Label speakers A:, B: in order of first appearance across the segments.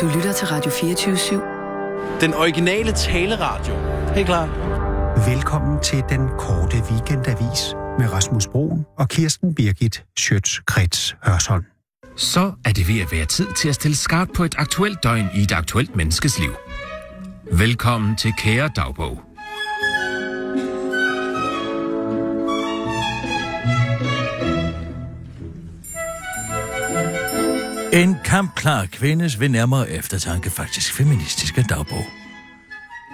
A: Du lytter til Radio 24 /7.
B: Den originale taleradio. Helt klart.
C: Velkommen til den korte weekendavis med Rasmus Broen og Kirsten Birgit Schøtz-Krets Hørsholm.
D: Så er det ved at være tid til at stille skarpt på et aktuelt døgn i et aktuelt menneskes liv. Velkommen til Kære Dagbog.
E: En kampklar kvindes ved nærmere eftertanke faktisk feministiske dagbog.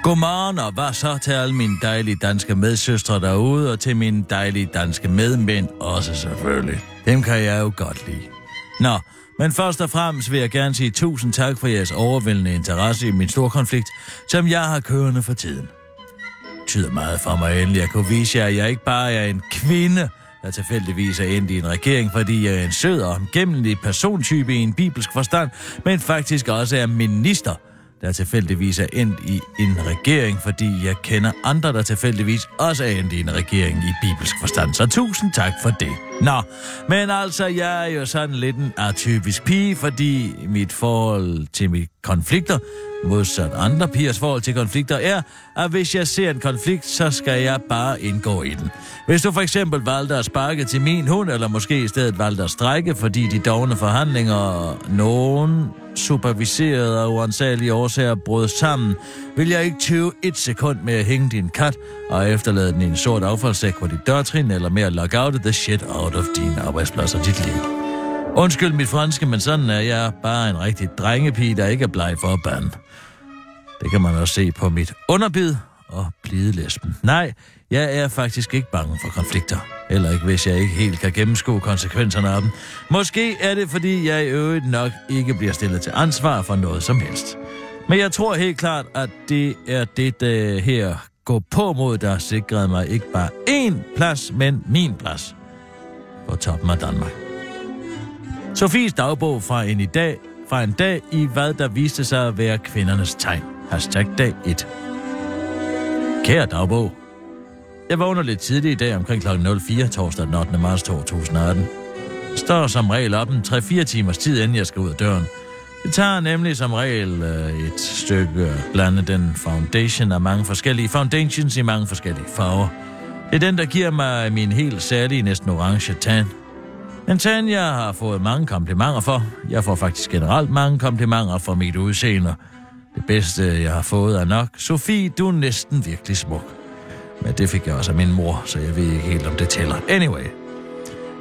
E: Godmorgen og hvad så til alle mine dejlige danske medsøstre derude, og til mine dejlige danske medmænd også selvfølgelig. Dem kan jeg jo godt lide. Nå, men først og fremmest vil jeg gerne sige tusind tak for jeres overvældende interesse i min storkonflikt, som jeg har kørende for tiden. Det betyder meget for mig endelig at kunne vise jer, at jeg ikke bare er en kvinde, der tilfældigvis er endt i en regering, fordi jeg er en sød og omgemmelig persontype i en bibelsk forstand, men faktisk også er minister, der tilfældigvis er endt i en regering, fordi jeg kender andre, der tilfældigvis også er endt i en regering i bibelsk forstand. Så tusind tak for det. Nå, men altså, jeg er jo sådan lidt en atypisk pige, fordi mit forhold til mine konflikter, modsat andre pigers forhold til konflikter, er, at hvis jeg ser en konflikt, så skal jeg bare indgå i den. Hvis du for eksempel valgte at sparke til min hund, eller måske i stedet valgte at strække, fordi de dogne forhandlinger, nogen superviserede og uansagelige årsager brød sammen, vil jeg ikke tøve et sekund med at hænge din kat og efterlade den i en sort affaldssæk på dit dørtrin, eller med at lock out the shit out of din arbejdsplads og dit liv. Undskyld mit franske, men sådan er jeg bare en rigtig drengepige, der ikke er bleg for at bande. Det kan man også se på mit underbid og blidelesben. Nej, jeg er faktisk ikke bange for konflikter. Heller ikke, hvis jeg ikke helt kan gennemskue konsekvenserne af dem. Måske er det, fordi jeg i øvrigt nok ikke bliver stillet til ansvar for noget som helst. Men jeg tror helt klart, at det er det øh, her gå på mod, der sikrede mig ikke bare én plads, men min plads på toppen af Danmark. Sofies dagbog fra en, i dag, fra en dag i, hvad der viste sig at være kvindernes tegn. Hashtag dag 1. Kære dagbog. Jeg vågner lidt tidligt i dag omkring kl. 04 torsdag den 8. marts 2018. Står som regel op en 3-4 timers tid, inden jeg skal ud af døren. Det tager nemlig som regel øh, et stykke at blande den foundation af mange forskellige foundations i mange forskellige farver. Det er den, der giver mig min helt særlige, næsten orange tan. En tan, jeg har fået mange komplimenter for. Jeg får faktisk generelt mange komplimenter for mit udseende. Det bedste, jeg har fået, er nok, Sofie, du er næsten virkelig smuk. Men det fik jeg også af min mor, så jeg ved ikke helt, om det tæller. Anyway.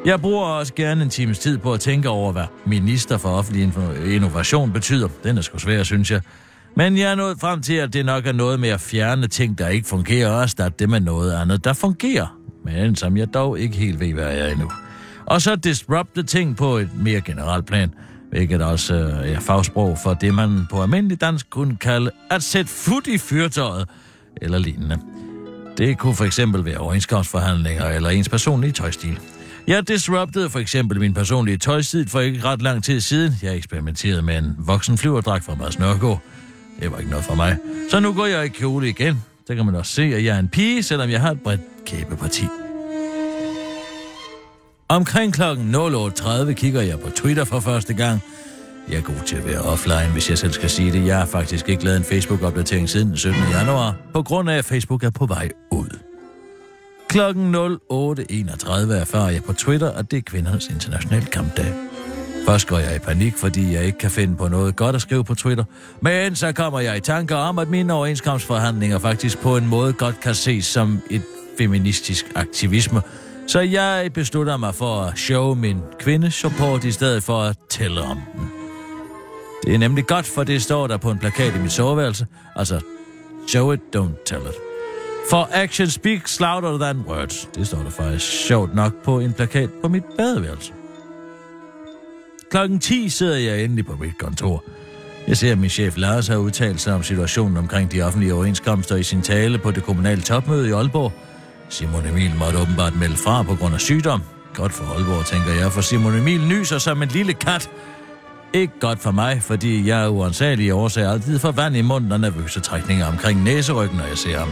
E: Jeg bruger også gerne en times tid på at tænke over, hvad minister for offentlig inno- innovation betyder. Den er sgu svær, synes jeg. Men jeg er nået frem til, at det nok er noget med at fjerne ting, der ikke fungerer, og erstatte det med noget andet, der fungerer. Men som jeg dog ikke helt ved, hvad jeg er endnu. Og så disrupte ting på et mere generelt plan, hvilket også øh, er fagsprog for det, man på almindelig dansk kunne kalde at sætte fod i fyrtøjet eller lignende. Det kunne for eksempel være overenskomstforhandlinger eller ens personlige tøjstil. Jeg disruptede for eksempel min personlige tøjstil for ikke ret lang tid siden. Jeg eksperimenterede med en voksen flyverdragt fra Mads Nørgaard. Det var ikke noget for mig. Så nu går jeg i kjole igen. Så kan man også se, at jeg er en pige, selvom jeg har et bredt kæbeparti. Omkring kl. 08.30 kigger jeg på Twitter for første gang. Jeg er god til at være offline, hvis jeg selv skal sige det. Jeg har faktisk ikke lavet en Facebook-opdatering siden den 17. januar, på grund af, at Facebook er på vej ud. Klokken 08.31 erfarer jeg på Twitter, at det er kvindernes internationale kampdag. Først går jeg i panik, fordi jeg ikke kan finde på noget godt at skrive på Twitter. Men så kommer jeg i tanker om, at mine overenskomstforhandlinger faktisk på en måde godt kan ses som et feministisk aktivisme. Så jeg beslutter mig for at show min kvindesupport i stedet for at tælle om den. Det er nemlig godt, for det står der på en plakat i mit soveværelse. Altså, show it, don't tell it. For action speaks louder than words. Det står der faktisk sjovt nok på en plakat på mit badeværelse. Klokken 10 sidder jeg endelig på mit kontor. Jeg ser, at min chef Lars har udtalt sig om situationen omkring de offentlige overenskomster i sin tale på det kommunale topmøde i Aalborg. Simon Emil måtte åbenbart melde fra på grund af sygdom. Godt for Aalborg, tænker jeg, for Simon Emil nyser som en lille kat. Ikke godt for mig, fordi jeg er uansagelig årsager altid for vand i munden og nervøse trækninger omkring næseryggen, når jeg ser ham.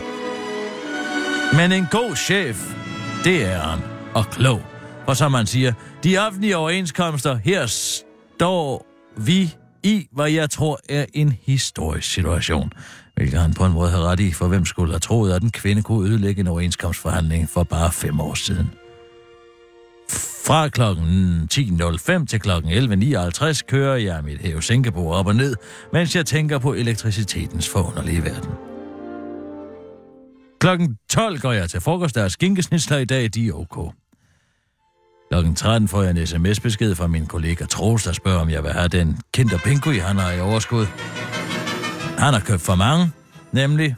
E: Men en god chef, det er han. Og klog. Og som man siger, de offentlige overenskomster, her står vi i, hvad jeg tror er en historisk situation. Hvilket han på en måde havde ret i, for hvem skulle have troet, at en kvinde kunne ødelægge en overenskomstforhandling for bare fem år siden. Fra kl. 10.05 til kl. 11.59 kører jeg mit hævesænkebord op og ned, mens jeg tænker på elektricitetens forunderlige verden. Klokken 12 går jeg til frokost, der er skinkesnitsler i dag, de er ok. Klokken 13 får jeg en sms-besked fra min kollega Troels, der spørger, om jeg vil have den kinder Pinkui, han har i overskud. Han har købt for mange, nemlig.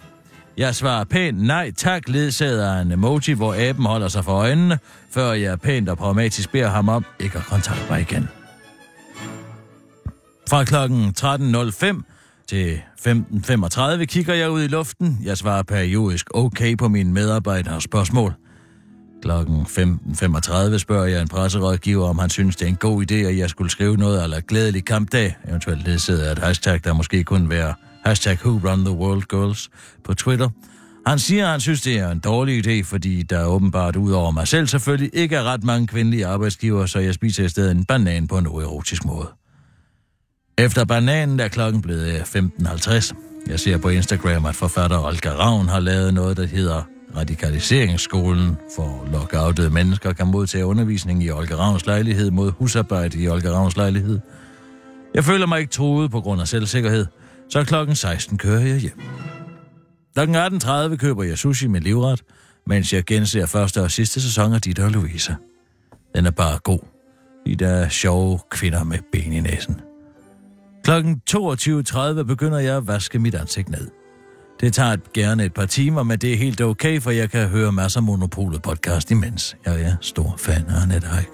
E: Jeg svarer pænt nej tak, ledsaget af en emoji, hvor aben holder sig for øjnene, før jeg pænt og pragmatisk beder ham om ikke at kontakte mig igen. Fra klokken 13.05 til 15.35 kigger jeg ud i luften. Jeg svarer periodisk okay på mine medarbejderes spørgsmål. Klokken 15.35 spørger jeg en presserådgiver, om han synes, det er en god idé, at jeg skulle skrive noget eller glædelig kampdag, eventuelt ledsaget af et hashtag, der måske kunne være hashtag Who Run The World Girls på Twitter. Han siger, at han synes, det er en dårlig idé, fordi der åbenbart ud over mig selv selvfølgelig ikke er ret mange kvindelige arbejdsgivere, så jeg spiser i stedet en banan på en uerotisk måde. Efter bananen er klokken blevet 15.50. Jeg ser på Instagram, at forfatter Olga Ravn har lavet noget, der hedder Radikaliseringsskolen for lockoutede mennesker kan modtage undervisning i Olga Ravns lejlighed mod husarbejde i Olga Ravns lejlighed. Jeg føler mig ikke truet på grund af selvsikkerhed, så klokken 16 kører jeg hjem. Klokken 18.30 køber jeg sushi med livret, mens jeg genser første og sidste sæson af Ditte og Louise. Den er bare god. De der er sjove kvinder med ben i næsen. Klokken 22.30 begynder jeg at vaske mit ansigt ned. Det tager et, gerne et par timer, men det er helt okay, for jeg kan høre masser af Monopolet podcast imens. Jeg er stor fan af Annette Heik.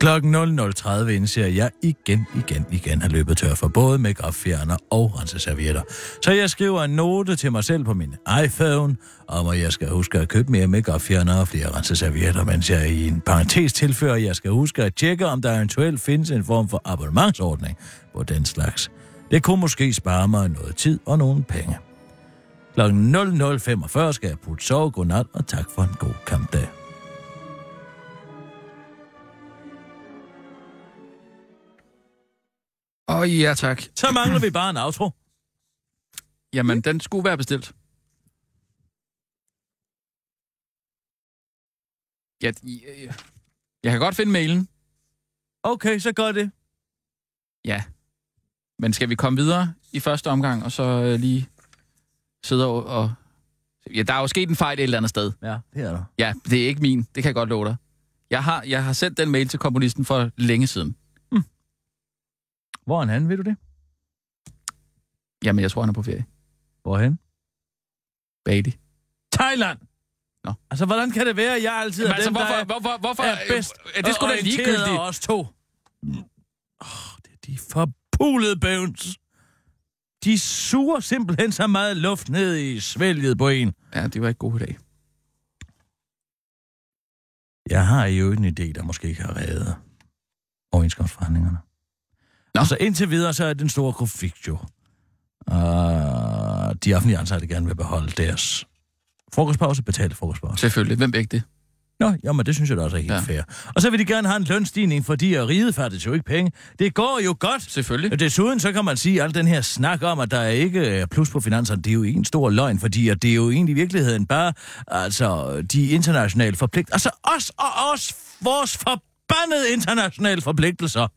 E: Klokken 00.30 indser jeg igen, igen, igen har løbet tør for både make fjerner og renseservietter. Så jeg skriver en note til mig selv på min iPhone, om at jeg skal huske at købe mere make fjerner og flere renseservietter, mens jeg i en parentes tilføjer, at jeg skal huske at tjekke, om der eventuelt findes en form for abonnementsordning på den slags. Det kunne måske spare mig noget tid og nogle penge. Kl. 00.45 skal jeg putte sove, godnat og tak for en god kampdag.
F: Åh, oh, ja tak.
E: Så mangler vi bare en outro.
F: Jamen, den skulle være bestilt. Jeg, jeg, jeg kan godt finde mailen.
E: Okay, så gør det.
F: Ja. Men skal vi komme videre i første omgang, og så øh, lige sidde og... og ja, der er jo sket en fejl et eller andet sted.
E: Ja, det er der.
F: Ja, det er ikke min. Det kan jeg godt love dig. Jeg har, jeg har sendt den mail til komponisten for længe siden.
E: Hvor er han, ved du det?
F: Jamen, jeg tror, han er på ferie.
E: Hvorhen?
F: Bailey.
E: Thailand!
F: Nå.
E: Altså, hvordan kan det være, at jeg altid er
F: Jamen, altså,
E: dem,
F: hvorfor,
E: der er,
F: hvorfor, hvorfor,
E: er bedst
F: Er det skulle da
E: og orienteret
F: ligegyldigt.
E: af os to? Åh, oh, det er de forpulede bøvns. De suger simpelthen så meget luft ned i svælget på en.
F: Ja, det var ikke god i dag.
E: Jeg har jo en idé, der måske kan redde overenskomstforhandlingerne. Nå.
F: Nå.
E: Altså indtil videre, så er den store konflikt jo. Uh, de offentlige ansatte gerne vil beholde deres frokostpause, betale frokostpause.
F: Selvfølgelig. Hvem er ikke det?
E: Nå, jamen det synes jeg da også er helt
F: Ja.
E: ja. fair. Og så vil de gerne have en lønstigning, fordi at riget fattes jo ikke penge. Det går jo godt.
F: Selvfølgelig.
E: Desuden så kan man sige, at al den her snak om, at der ikke er plus på finanserne, det er jo en stor løgn, fordi at det er jo egentlig i virkeligheden bare altså, de internationale forpligtelser. Altså os og os, vores forbandede internationale forpligtelser.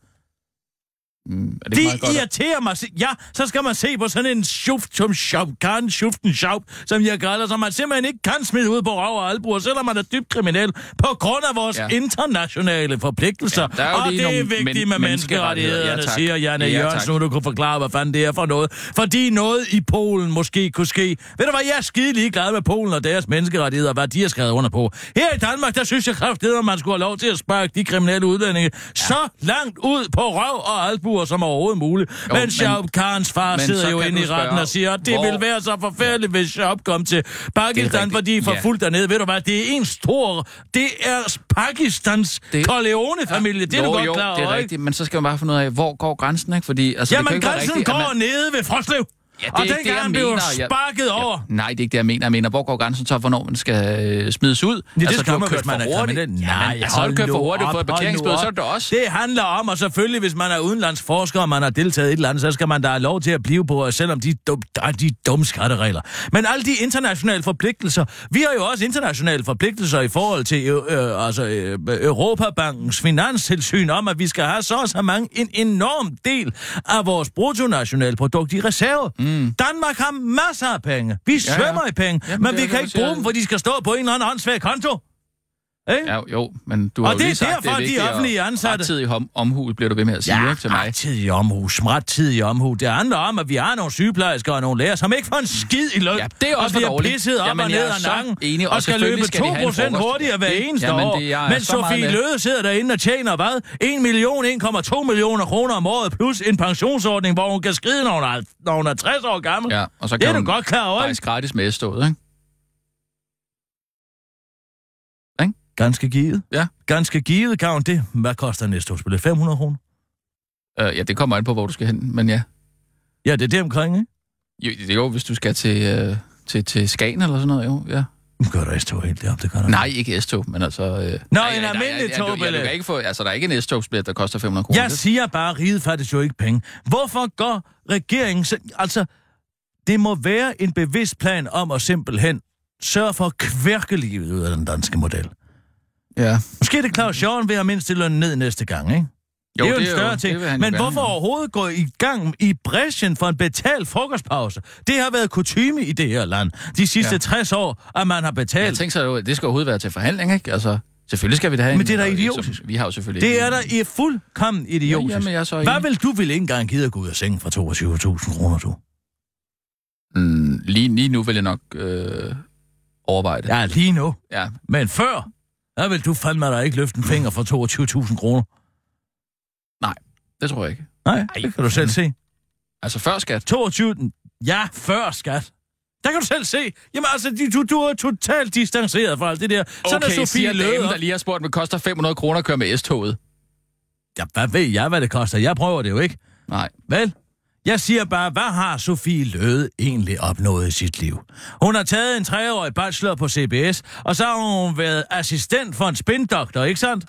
F: Mm, er det
E: De
F: ikke meget godt? at-
E: irriterer mig. Se- Ja, så skal man se på sådan en schuft som shop, Karen Schuften shop, som jeg kalder, som man simpelthen ikke kan smide ud på røv og albuer, selvom man er dybt kriminel, på grund af vores
F: Ja.
E: ja. internationale forpligtelser.
F: Ja, der er jo
E: og
F: lige
E: det er
F: nogle
E: vigtigt
F: men-
E: med
F: menneskerettigheder. Ja,
E: menneskerettighederne,
F: tak.
E: siger Janne
F: Ja, tak.
E: Jørgensen, nu du kunne forklare, hvad fanden det er for noget. Fordi noget i Polen måske kunne ske. Ved du hvad, jeg er skide ligeglad med Polen og deres menneskerettigheder, og hvad de har skrevet under på. Her i Danmark, der synes jeg kraftedeme, at man skulle have lov til at sparke de kriminelle udlændinge ja. så langt ud på røv og albuer som overhovedet muligt.
F: Jo,
E: Jo,
F: men-
E: men Sjaub Karens far
F: men så
E: sidder jo
F: kan
E: inde
F: du
E: i retten
F: spørge,
E: og siger, at det
F: hvor-
E: ville være så forfærdeligt, hvis Sjaub kom til
F: Det er
E: Pakistan,
F: rigtigt.
E: fordi for
F: Ja.
E: fuldt dernede. Ved du hvad, det er en stor... Det er Pakistans
F: Det-
E: det... Corleone-familie. Det er
F: jo,
E: du godt
F: jo,
E: klar over,
F: det er
E: ikke?
F: rigtigt, men så skal man bare finde ud af, hvor går grænsen, ikke? Fordi, altså, det kan
E: Jamen,
F: ikke være
E: grænsen
F: rigtigt, at
E: går man... nede ved Froslev.
F: Ja, det
E: og
F: er ikke det,
E: dengang
F: jeg
E: blev
F: mener. Jeg-
E: sparket over.
F: Nej, det er ikke det, jeg mener. Jeg mener, hvor går grænsen så, hvornår man skal øh, smides ud?
E: Ja, det
F: altså,
E: altså, skal
F: du
E: man,
F: har kørt
E: hvis man
F: for
E: er
F: hurtigt.
E: kriminel.
F: Nej, altså, har du kørt for hurtigt og fået et parkeringsbøde, så er det da også.
E: Det handler om, og selvfølgelig, hvis man er udenlandsforsker, og man har deltaget i et eller andet, så skal man da have lov til at blive på, og selvom de, dum, der er de dumme skatteregler. Men alle de internationale forpligtelser, vi har jo også internationale forpligtelser i forhold til øh, øh, altså, øh, Europabankens finanstilsyn om, at vi skal have så og så mange, en enorm del af vores bruttonationalprodukt i reserve. Mm. Danmark har masser af penge. Vi
F: ja.
E: svømmer i penge,
F: Jamen,
E: Jamen, men
F: det er
E: vi
F: det,
E: kan
F: du
E: ikke
F: siger.
E: bruge dem, for de skal stå på en eller anden åndssvag konto. Ikke?
F: Ja, jo, men du har
E: Og
F: jo
E: det er
F: lige sagt,
E: derfor, de
F: det er vigtigt,
E: offentlige
F: og-
E: ansatte-
F: Rettidig hom- omhu bliver du ved med at sige ikke, til mig.
E: rettidig omhu, smart tidig omhu. Det handler om, at vi har nogle sygeplejersker og nogle læger, som ikke får en skid i løn.
F: Ja, det er også
E: og
F: for
E: bliver
F: dårligt.
E: pisset op
F: Jamen,
E: og
F: jeg
E: ned
F: er
E: ad
F: så
E: nakken,
F: enig, og
E: og skal
F: selvfølgelig
E: løbe
F: skal de have en
E: 2%
F: frokost.
E: hurtigere hver
F: Det-
E: eneste
F: Jamen,
E: år.
F: det er jeg
E: Men
F: så meget
E: Sofie
F: med.
E: Løde sidder derinde og tjener hvad? 1 million, 1,2 millioner kroner om året, plus en pensionsordning, hvor hun kan skride, når hun er, når hun er 60 år gammel.
F: Ja, og så
E: det er
F: kan
E: du
F: hun
E: godt klar over, ikke?
F: faktisk gratis med stået, ikke?
E: Ganske givet.
F: Ja.
E: Ganske givet, kan hun det. Hvad koster næste års billet? 500 kroner?
F: Øh, ja, det kommer an på, hvor du skal hen, men ja.
E: Ja, det er det omkring, ikke?
F: Jo, det er jo, hvis du skal til, øh, til, til Skagen eller sådan noget, jo, ja.
E: Nu gør der S-tog helt deroppe, det gør der.
F: Nej, ikke S-tog, men altså... Øh, Nå, en
E: en almindelig
F: Ja, du
E: togbillet.
F: kan ikke få... Altså, der er ikke en S-togsbillet, der koster 500 kroner.
E: Jeg siger bare, at riget faktisk jo ikke penge. Hvorfor går regeringen... så- Altså, det må være en bevidst plan om at simpelthen sørge for at kværke livet ud af den danske model.
F: Ja.
E: Måske er det Claus Sjøren ved at mindste lønnen ned næste gang, ikke? Jo, det er jo en større ting.
F: det vil han jo
E: Men
F: gerne.
E: hvorfor overhovedet gå i gang i bræschen for en betalt frokostpause? Det har været kutume i det her land de sidste
F: Ja.
E: ja. 60 år, at man har
F: Jeg
E: betalt.
F: tænkte så, at det skal overhovedet være til forhandling, ikke? Altså, selvfølgelig skal vi da have
E: Men
F: en-
E: det er da
F: og-
E: idiotisk.
F: så- Vi har jo selvfølgelig...
E: Det
F: en-
E: er da i fuldkommen idiotisk.
F: Ja, jamen, jeg er så
E: Hvad
F: enig.
E: vil du ville ikke engang gide at gå ud af sengen for 22.000 kroner, du?
F: Mm, lige, lige nu vil jeg nok øh, overveje det.
E: Ja, lige nu.
F: ja.
E: Men før, der vil du fandme da ikke løfte en finger for 22.000 kroner.
F: Det tror jeg ikke.
E: Nej, det kan du selv se.
F: Altså før skat.
E: 22. Ja, før skat. Der kan du selv se. Jamen altså, de- du, du er totalt distanceret fra alt det der. Så er der Sofie
F: siger
E: Løde.
F: damen,
E: op.
F: der lige har spurgt, om det koster 500 kroner at køre med S-toget.
E: Ja, hvad ved jeg, hvad det koster? Jeg prøver det jo ikke.
F: Nej.
E: Vel? Jeg siger bare, hvad har Sofie Løde egentlig opnået i sit liv? Hun har taget en treårig bachelor på CBS, og så har hun været assistent for en spindoktor, ikke sandt?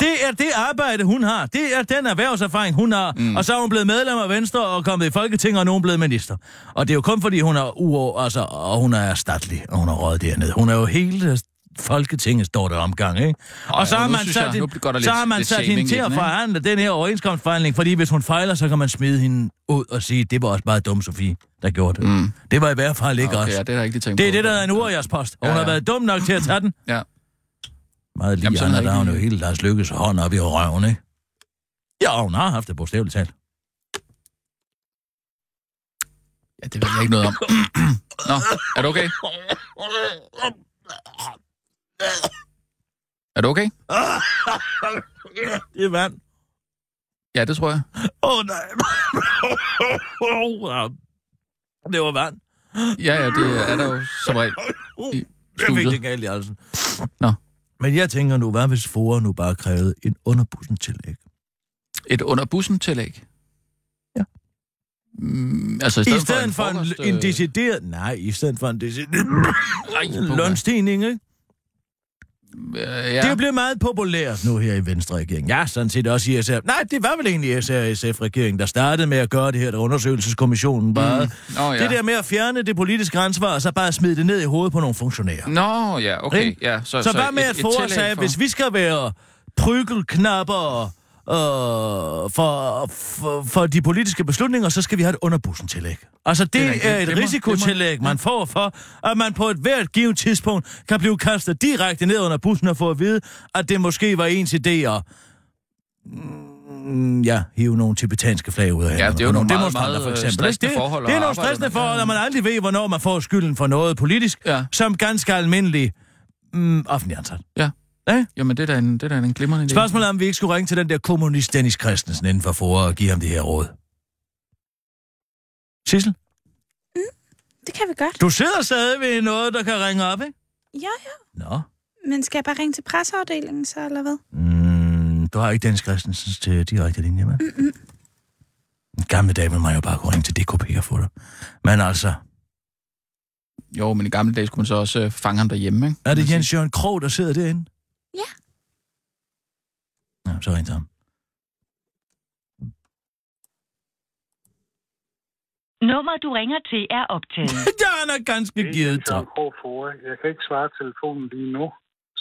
E: Det er det arbejde, hun har. Det er den erhvervserfaring, hun har. Mm. Og så er hun blevet medlem af Venstre og kommet i Folketinget, og nu er hun blevet minister. Og det er jo kun fordi, hun er uår, altså, og hun er statlig, og hun er røget dernede. Hun er jo hele Folketinget står der omgang, ikke? Og
F: Ej,
E: så
F: og
E: har
F: nu
E: man
F: synes
E: sat,
F: jeg, nu
E: hende,
F: går der
E: så
F: lidt-
E: har man
F: lidt
E: sat
F: shaming
E: hende til
F: i
E: at
F: den, ikke?
E: forhandle den her overenskomstforhandling, fordi hvis hun fejler, så kan man smide hende ud og sige, det var også bare dum Sofie, der gjorde det. Mm. Det var i hvert fald ikke
F: Okay,
E: okay,
F: ja,
E: os.
F: det er der ikke, de tænkt
E: Det er
F: på.
E: det, der er en urjerspost. Hun
F: Ja,
E: ja, ja.
F: ja.
E: har været dum nok til at tage den.
F: Ja.
E: Meget lige
F: Jamen,
E: Jamen,
F: sådan er
E: Anna, der har hun
F: det
E: jo hele Lars Lykkes hånd op i røven, ikke? Ja, hun har haft det bogstaveligt talt.
F: ja, det ved jeg ikke noget om. Nå, er du okay? Er du okay?
E: Det er vand.
F: Ja, det tror jeg.
E: Åh, oh, nej. det var vand.
F: Ja, ja, det er der jo som regel. I
E: Jeg fik det
F: studiet.
E: galt i halsen.
F: Nå.
E: Men jeg tænker nu, hvad hvis Fora nu bare krævede en underbussen tillæg?
F: Et under bussen tillæg.
E: Ja.
F: Mm, altså i
E: I
F: stedet,
E: stedet for en,
F: frokost,
E: en, en
F: øh,
E: decideret... Nej, i stedet for en decideret
F: Ej, puha.
E: lønstigning, ikke?
F: Øh,
E: Ja. Det
F: ja.
E: er blevet meget populært nu her i Venstre-regeringen. Ja, sådan set også i SR. Nej, det var vel egentlig SR-SF-regeringen, der startede med at gøre det her, der undersøgelseskommissionen bare. Mm.
F: Nå, ja.
E: Ja. Det der med at fjerne det politiske ansvar, og så bare smide det ned i hovedet på nogle funktionærer.
F: Nå, ja, okay.
E: Ikke?
F: Ja, så,
E: Så, så hvad
F: et-
E: med,
F: et
E: at Fora
F: tillæg
E: sagde,
F: for-
E: hvis vi skal være prygelknapper øh, for, for, for de politiske beslutninger, så skal vi have et underbussen-tillæg. Altså, det,
F: er
E: det
F: rigtigt.
E: er, er
F: Det
E: et
F: må-
E: risikotillæg, man får for, at man på et hvert givet tidspunkt kan blive kastet direkte ned under bussen og få at vide, at det måske var ens idé at mm, ja, hive nogle tibetanske flag ud af
F: det er jo
E: hænderne på
F: nogle meget,
E: demonstranter,
F: meget, øh,
E: ikke?
F: stressende
E: det,
F: forhold at
E: Det er nogle
F: arbejde
E: stressende
F: under.
E: forhold, at man aldrig ved, hvornår man får skylden for noget politisk,
F: Ja.
E: ja. som ganske almindelig mm, offentlig ansat.
F: Ja.
E: Ja.
F: Jamen, det er da en, det er da en glimrende idé.
E: Spørgsmålet er, om vi ikke skulle ringe til den der kommunist Dennis Christensen inden for for og give ham det her råd. Sissel,
G: Det kan vi godt.
E: du sidder stadig ved noget, der kan ringe op, ikke?
G: Ja, ja.
E: Nå.
G: Men skal jeg bare ringe til presseafdelingen så, eller hvad?
E: øh, Mm, du har ikke Dennis Christensens til direkte linje, med. I gamle dage ville man jo bare kunne ringe til DKP og få det. Men altså,
F: Jo, men i gamle dage skulle man så også øh, fange ham derhjemme, ikke?
E: er
F: Man
E: det
F: siger-
E: Jens Jørgen Krog, der sidder derinde?
G: Ja.
E: Ja, så ring til ham.
H: Nummer, du ringer til, er optaget.
E: Ja, han er ganske givet
I: Jeg
E: drøm.
I: er for, jeg kan ikke svare telefonen lige nu.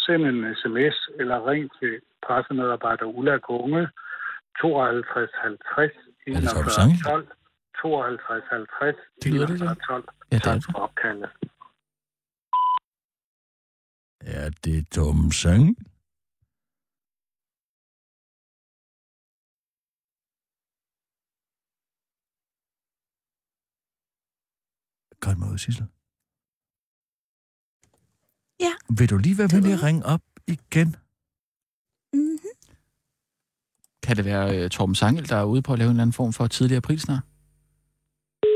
I: Send en sms eller ring til pressemedarbejder Ulla Gunge 52 50
E: det Torben
I: 41
E: Sange?
I: 12 52 50
F: Det lyder det,
I: 41 12.
F: Ja, det er
I: Tak
F: det.
I: for opkaldet.
E: Ja, det er dumme sang. Godt måde, Sissel.
G: Ja.
E: Vil du lige være
G: Det
E: venlig
G: var
E: at ringe op igen?
G: Mm-hmm.
F: Kan det være øh, Torben Sangel, der er ude på at lave en eller anden form for tidligere prisnar?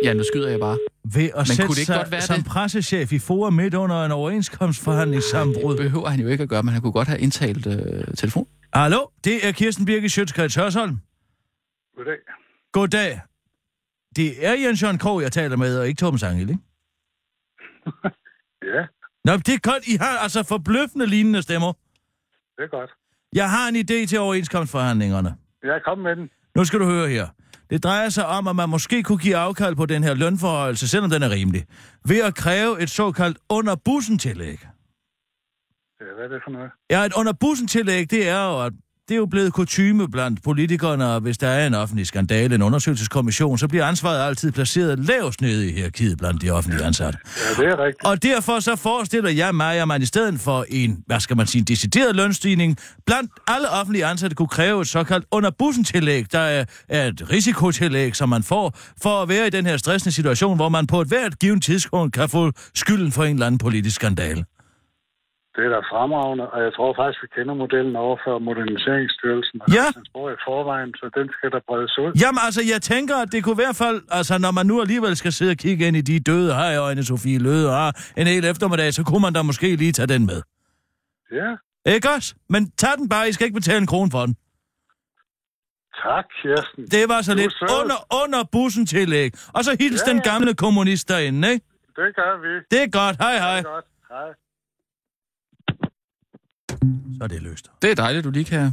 F: Ja, nu skyder jeg bare.
E: Ved at Men sætte
F: kunne det ikke
E: sig
F: godt være
E: som
F: det? Øh.
E: pressechef i forum midt under en overenskomstforhandlingssambrud.
F: Det behøver han jo ikke at gøre, men han kunne godt have indtalt øh, telefon.
E: Hallo, det er Kirsten Birke Sjøtskreds Hørsholm.
I: Goddag.
E: Goddag. Det er Jens Jørgen Krog, jeg taler med, og ikke Torben Sangel, ikke?
I: Ja,
E: Nå, det er godt. I har altså forbløffende lignende stemmer.
I: det er godt.
E: Jeg har en idé til overenskomstforhandlingerne.
I: Jeg kom med den.
E: Nu skal du høre her. Det drejer sig om, at man måske kunne give afkald på den her lønforhøjelse, selvom den er rimelig, ved at kræve et såkaldt underbussen-tillæg.
I: Ja, hvad er det for noget?
E: Ja, et underbussen-tillæg, det er jo, at det er jo blevet kutyme blandt politikerne, og hvis der er en offentlig skandale, en undersøgelseskommission, så bliver ansvaret altid placeret lavest nede i hierarkiet blandt de offentlige ansatte.
I: Ja, det er rigtigt.
E: Og derfor så forestiller jeg mig, at man i stedet for en, hvad skal man sige, en decideret lønstigning, blandt alle offentlige ansatte kunne kræve et såkaldt underbussen-tillæg, der er, er et risikotillæg, som man får for at være i den her stressende situation, hvor man på et hvert givet tidspunkt kan få skylden for en eller anden politisk skandale.
I: Det er da fremragende, og jeg tror faktisk, vi kender modellen over for Moderniseringsstyrelsen. og
E: Ja.
I: Den tror i forvejen, så den skal der bredes ud.
E: Jamen altså, jeg tænker, at det kunne i hvert fald, altså når man nu alligevel skal sidde og kigge ind i de døde har i øjne, Sofie Løde har en hel eftermiddag, så kunne man da måske lige tage den med.
I: Ja,
E: Ikke også? Men tag den bare, I skal ikke betale en krone for den.
I: tak Kirsten.
E: Det var så
I: Du er
E: lidt
I: sød.
E: under, under bussen tillæg. Og så hils ja,
I: Ja,
E: den
I: ja.
E: gamle kommunist derinde, ikke?
I: Det gør vi.
E: Det er godt. Hej,
I: Det
E: hej.
I: er godt. Hej.
E: Så er det løst.
F: Det er dejligt, du lige kan give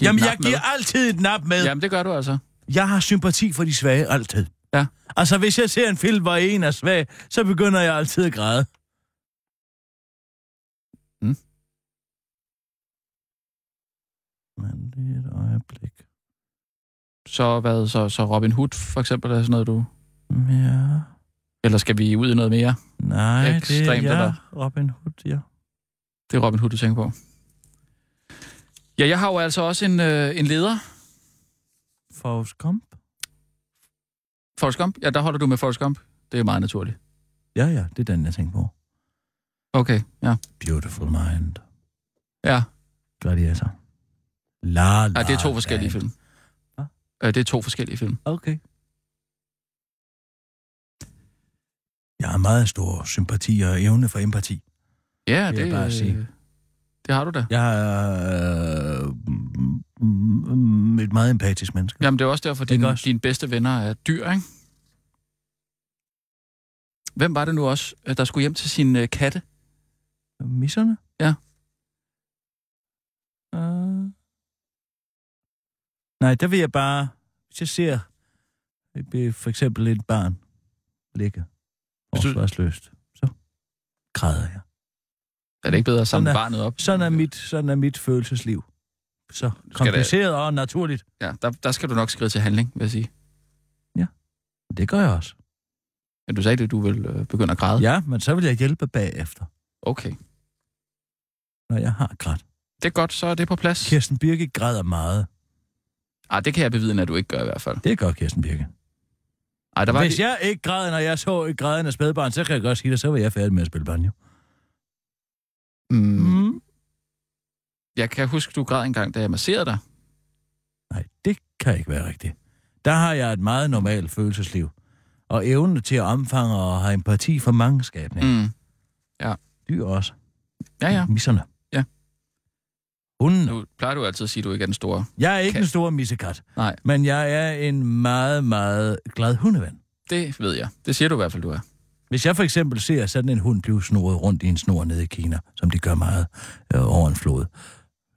F: et
E: Jamen,
F: nap
E: jeg giver altid et nap med.
F: med.
E: Ja.
F: Jamen, det gør du altså.
E: Jeg har sympati for de svage altid.
F: Ja.
E: Altså, hvis jeg ser en film, hvor en er svag, så begynder jeg altid at græde.
F: Mm.
E: Men lige et øjeblik.
F: Så, hvad, så, så Robin Hood, for eksempel, er sådan noget, du...
E: Ja.
F: Eller skal vi ud i noget mere?
E: Nej,
F: Ekstremt,
E: det er
F: eller?
E: jeg. Robin Hood, ja.
F: Det er Robin Hood, du tænker på. Ja, jeg har jo altså også en, øh, en leder.
E: Forrest Gump.
F: Forrest Gump. Ja, der holder du med Forrest Gump. Det er meget naturligt.
E: Ja, ja, det er den, jeg tænker på.
F: Okay, ja.
E: Beautiful Mind.
F: Ja,
E: Gladiator. altså. La, la,
F: ja det er to forskellige film.
E: Hva?
F: Øh, Det er to forskellige film.
E: Okay. Jeg har meget stor sympati og evne for empati.
F: Ja,
E: Vil jeg
F: det,
E: bare sige.
F: øh, det har du da.
E: Jeg er øh, mm, mm, et meget empatisk menneske.
F: Jamen, det er også derfor,
E: Det er
F: din,
E: godt.
F: dine bedste venner er dyr, ikke? Hvem var det nu også, øh, der skulle hjem til sin øh, katte?
E: Misserne?
F: Ja.
E: Uh... Nej, der vil jeg bare... Hvis jeg ser øh, for eksempel et barn ligge
F: Hvis du-
E: forsvarsløst, så græder jeg.
F: Er det ikke bedre at samle
E: Sådan er-
F: barnet op?
E: Sådan er mit, sådan er mit følelsesliv. Så kompliceret og naturligt.
F: Ja, der, der skal du nok skride til handling, vil jeg sige.
E: Det gør jeg også.
F: Men du sagde det, du vil øh, begynde at græde.
E: Ja, men så vil jeg hjælpe bagefter,
F: Okay.
E: når jeg har grædt.
F: Det er godt, så er det på plads.
E: Kirsten Birke græder meget.
F: Ah, det kan jeg bevidne, at du ikke gør i hvert fald.
E: Det gør Kirsten Birke.
F: Ej, der var
E: Hvis
F: lige...
E: jeg ikke græd, når jeg så et grædende spædbarn, så kan jeg godt sige det, så var jeg færdig med at spille banjo.
F: Mm,
E: Mm.
F: jeg kan huske, du græd engang, da jeg masserede dig.
E: Nej, det kan ikke være rigtigt. Der har jeg et meget normalt følelsesliv. Og evne til at omfange og have empati for mange skabninger. Mm.
F: Mm.
E: Dyr også.
F: Ja, ja.
E: Misserne.
F: Ja.
E: Hunden.
F: Nu plejer du altid at sige, at du ikke er den store.
E: Jeg er ikke
F: Kat.
E: en stor missekat,
F: Nej,
E: men jeg er en meget, meget glad hundeven.
F: det ved jeg. Det siger du i hvert fald, du er.
E: Hvis jeg for eksempel ser sådan en hund blive snoret rundt i en snor nede i Kina, som de gør meget øh, over en flod,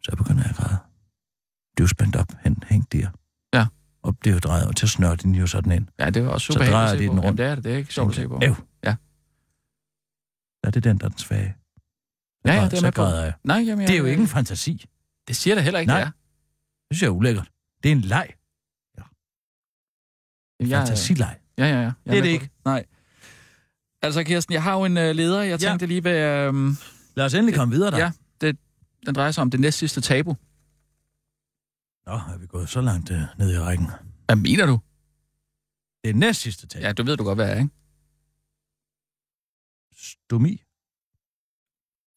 E: så begynder jeg at græde. Du er spændt op, hen, hæng der.
F: Ja.
E: Og det er jo drejet, og til snør den jo sådan ind.
F: Ja, det var også
E: Så
F: super
E: drejer de den rundt.
F: Jamen, det er det. Det er ikke sjovt at se på.
E: Æv.
F: Ja.
E: Der er det den, der er den svage. Så
F: Ja, ja,
E: græder-
F: det er
E: så
F: med på.
E: græder jeg.
F: Nej, jamen, jeg,
E: Det er jo ikke en fantasi.
F: Det siger det heller ikke,
E: Nej.
F: det er.
E: Det synes jeg er ulækkert. Det er en leg.
F: Jamen, jeg-
E: Fantasileg.
F: Ja, ja, ja. Jeg
E: er
F: med
E: det
F: på
E: ikke.
F: Nej. Altså, Kirsten, jeg har jo en øh, leder. Jeg
E: Ja.
F: tænkte lige, hvad... Øh,
E: Lad os endelig komme videre der.
F: ja, det, den drejer sig om det næstsidste tabu.
E: Nå, er vi gået så langt øh, ned i rækken.
F: Hvad mener du?
E: Det er næst sidste tag.
F: Ja, du ved du godt, hvad jeg er, ikke?
E: Stomi.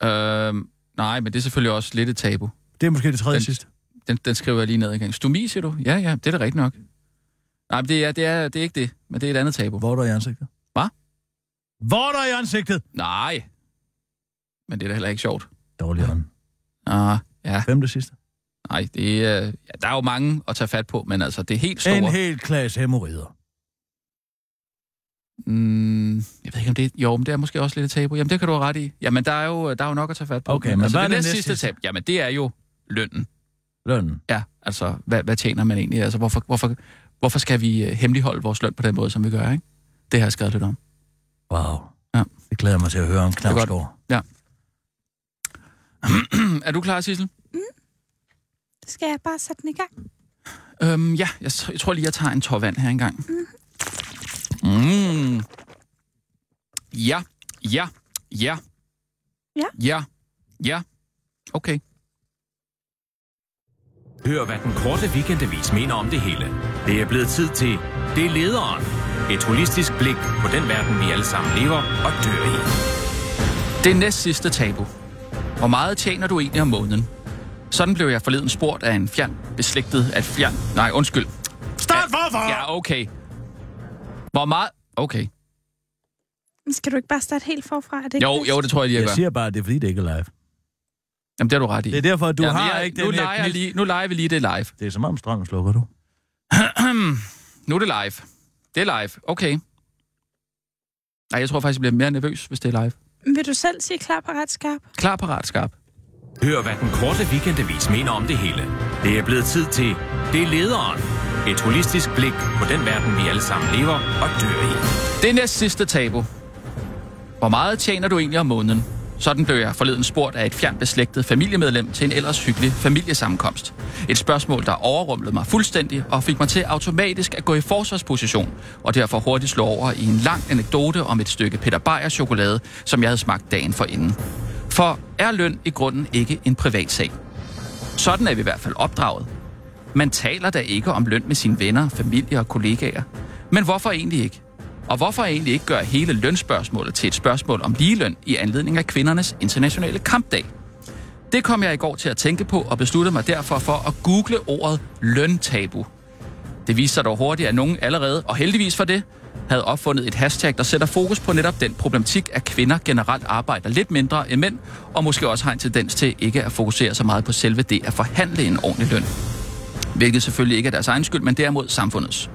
F: Øh, nej, men det er selvfølgelig også lidt et tabu.
E: Det er måske det tredje
F: Den-
E: sidste.
F: Den, den skriver jeg lige ned igen. Stomi, siger du? Ja, ja, det er da rigtigt nok. Nej, men det er, det, er, det er ikke det, men det er et andet tabu.
E: Hvor er der i ansigtet?
F: Hvad?
E: Hvor er der i ansigtet?
F: Nej. Men det er da heller ikke sjovt.
E: Dårlig ånd.
F: Ah, ja.
E: Femte sidste.
F: Nej, det er, ja, der er jo mange at tage fat på, men altså, det er helt
E: En
F: store...
E: helt klasse hemorrider.
F: Mm, jeg ved ikke, om det er... Jo, men det er måske også lidt et tabu. Jamen, det kan du have ret i. Jamen, der er jo, der er jo nok at tage fat på. Altså,
E: Okay, men hvad er
F: det
E: det
F: næste
E: næstsidste?
F: sidste tabu? Jamen, det er jo lønnen.
E: Lønnen.
F: Ja, altså, hvad, hvad tjener man egentlig? Altså, hvorfor, hvorfor, hvorfor skal vi øh, hemmeligholde vores løn på den måde, som vi gør, ikke? Det har jeg skrevet lidt om.
E: Wow.
F: Ja.
E: Det glæder jeg mig til at høre om
F: er godt.
E: Knavsgaard.
F: er du klar, Sissel?
G: Skal jeg bare sætte den i gang?
F: Øhm, ja, jeg, t- jeg tror lige, jeg tager en tår vand her engang. Mm. Ja, ja, ja.
G: Ja.
F: Ja, ja. Okay.
D: Hør, hvad den korte weekendavis mener om det hele. Det er blevet tid til Det er lederen. Et holistisk blik på den verden, vi alle sammen lever og dør i.
F: Det næst sidste tabu. Hvor meget tjener du egentlig om måneden? Sådan blev jeg forleden spurgt af en fjern, beslægtet af et fjern. Nej, undskyld.
E: Start forfra!
F: Ja, okay. Hvor meget... Okay.
G: Men Skal du ikke bare starte helt forfra? Er det ikke
F: Jo,
G: bedst?
F: jo, det tror jeg lige, jeg
E: Jeg
F: gør.
E: siger bare, at det er fordi, det ikke er live.
F: Jamen, det har du ret i.
E: Det er derfor, at du
F: Jamen,
E: har
F: jeg,
E: ikke
F: nu
E: den her
F: leger
E: gnist.
F: lige, Nu leger vi lige det live.
E: Det er som om strømmen slukker du.
F: Nu er det live. Det er live. Okay. Nej, jeg tror faktisk, jeg bliver mere nervøs, hvis det er live.
G: Vil du selv sige klar, parat, skarp?
F: Klar, parat, skarp.
D: Hør, hvad den korte weekendavis mener om det hele. Det er blevet tid til Det er lederen. Et holistisk blik på den verden, vi alle sammen lever og dør i.
F: Det næst sidste tabu. Hvor meget tjener du egentlig om måneden? Sådan blev jeg forleden spurgt af et fjern beslægtet familiemedlem til en ellers hyggelig familiesammenkomst. Et spørgsmål, der overrumlede mig fuldstændig og fik mig til automatisk at gå i forsvarsposition, og derfor hurtigt slå over i en lang anekdote om et stykke Peter Beyer chokolade, som jeg havde smagt dagen forinden. For er løn i grunden ikke en privatsag? Sådan er vi i hvert fald opdraget. Man taler da ikke om løn med sine venner, familie og kollegaer. Men hvorfor egentlig ikke? Og hvorfor egentlig ikke gøre hele lønspørgsmålet til et spørgsmål om ligeløn i anledning af kvindernes internationale kampdag? Det kom jeg i går til at tænke på og besluttede mig derfor for at google ordet løntabu. Det viste sig dog hurtigt, at nogen allerede, og heldigvis for det, havde opfundet et hashtag, der sætter fokus på netop den problematik, at kvinder generelt arbejder lidt mindre end mænd, og måske også har en tendens til ikke at fokusere så meget på selve det at forhandle en ordentlig løn. Hvilket selvfølgelig ikke er deres egen skyld, men derimod samfundets.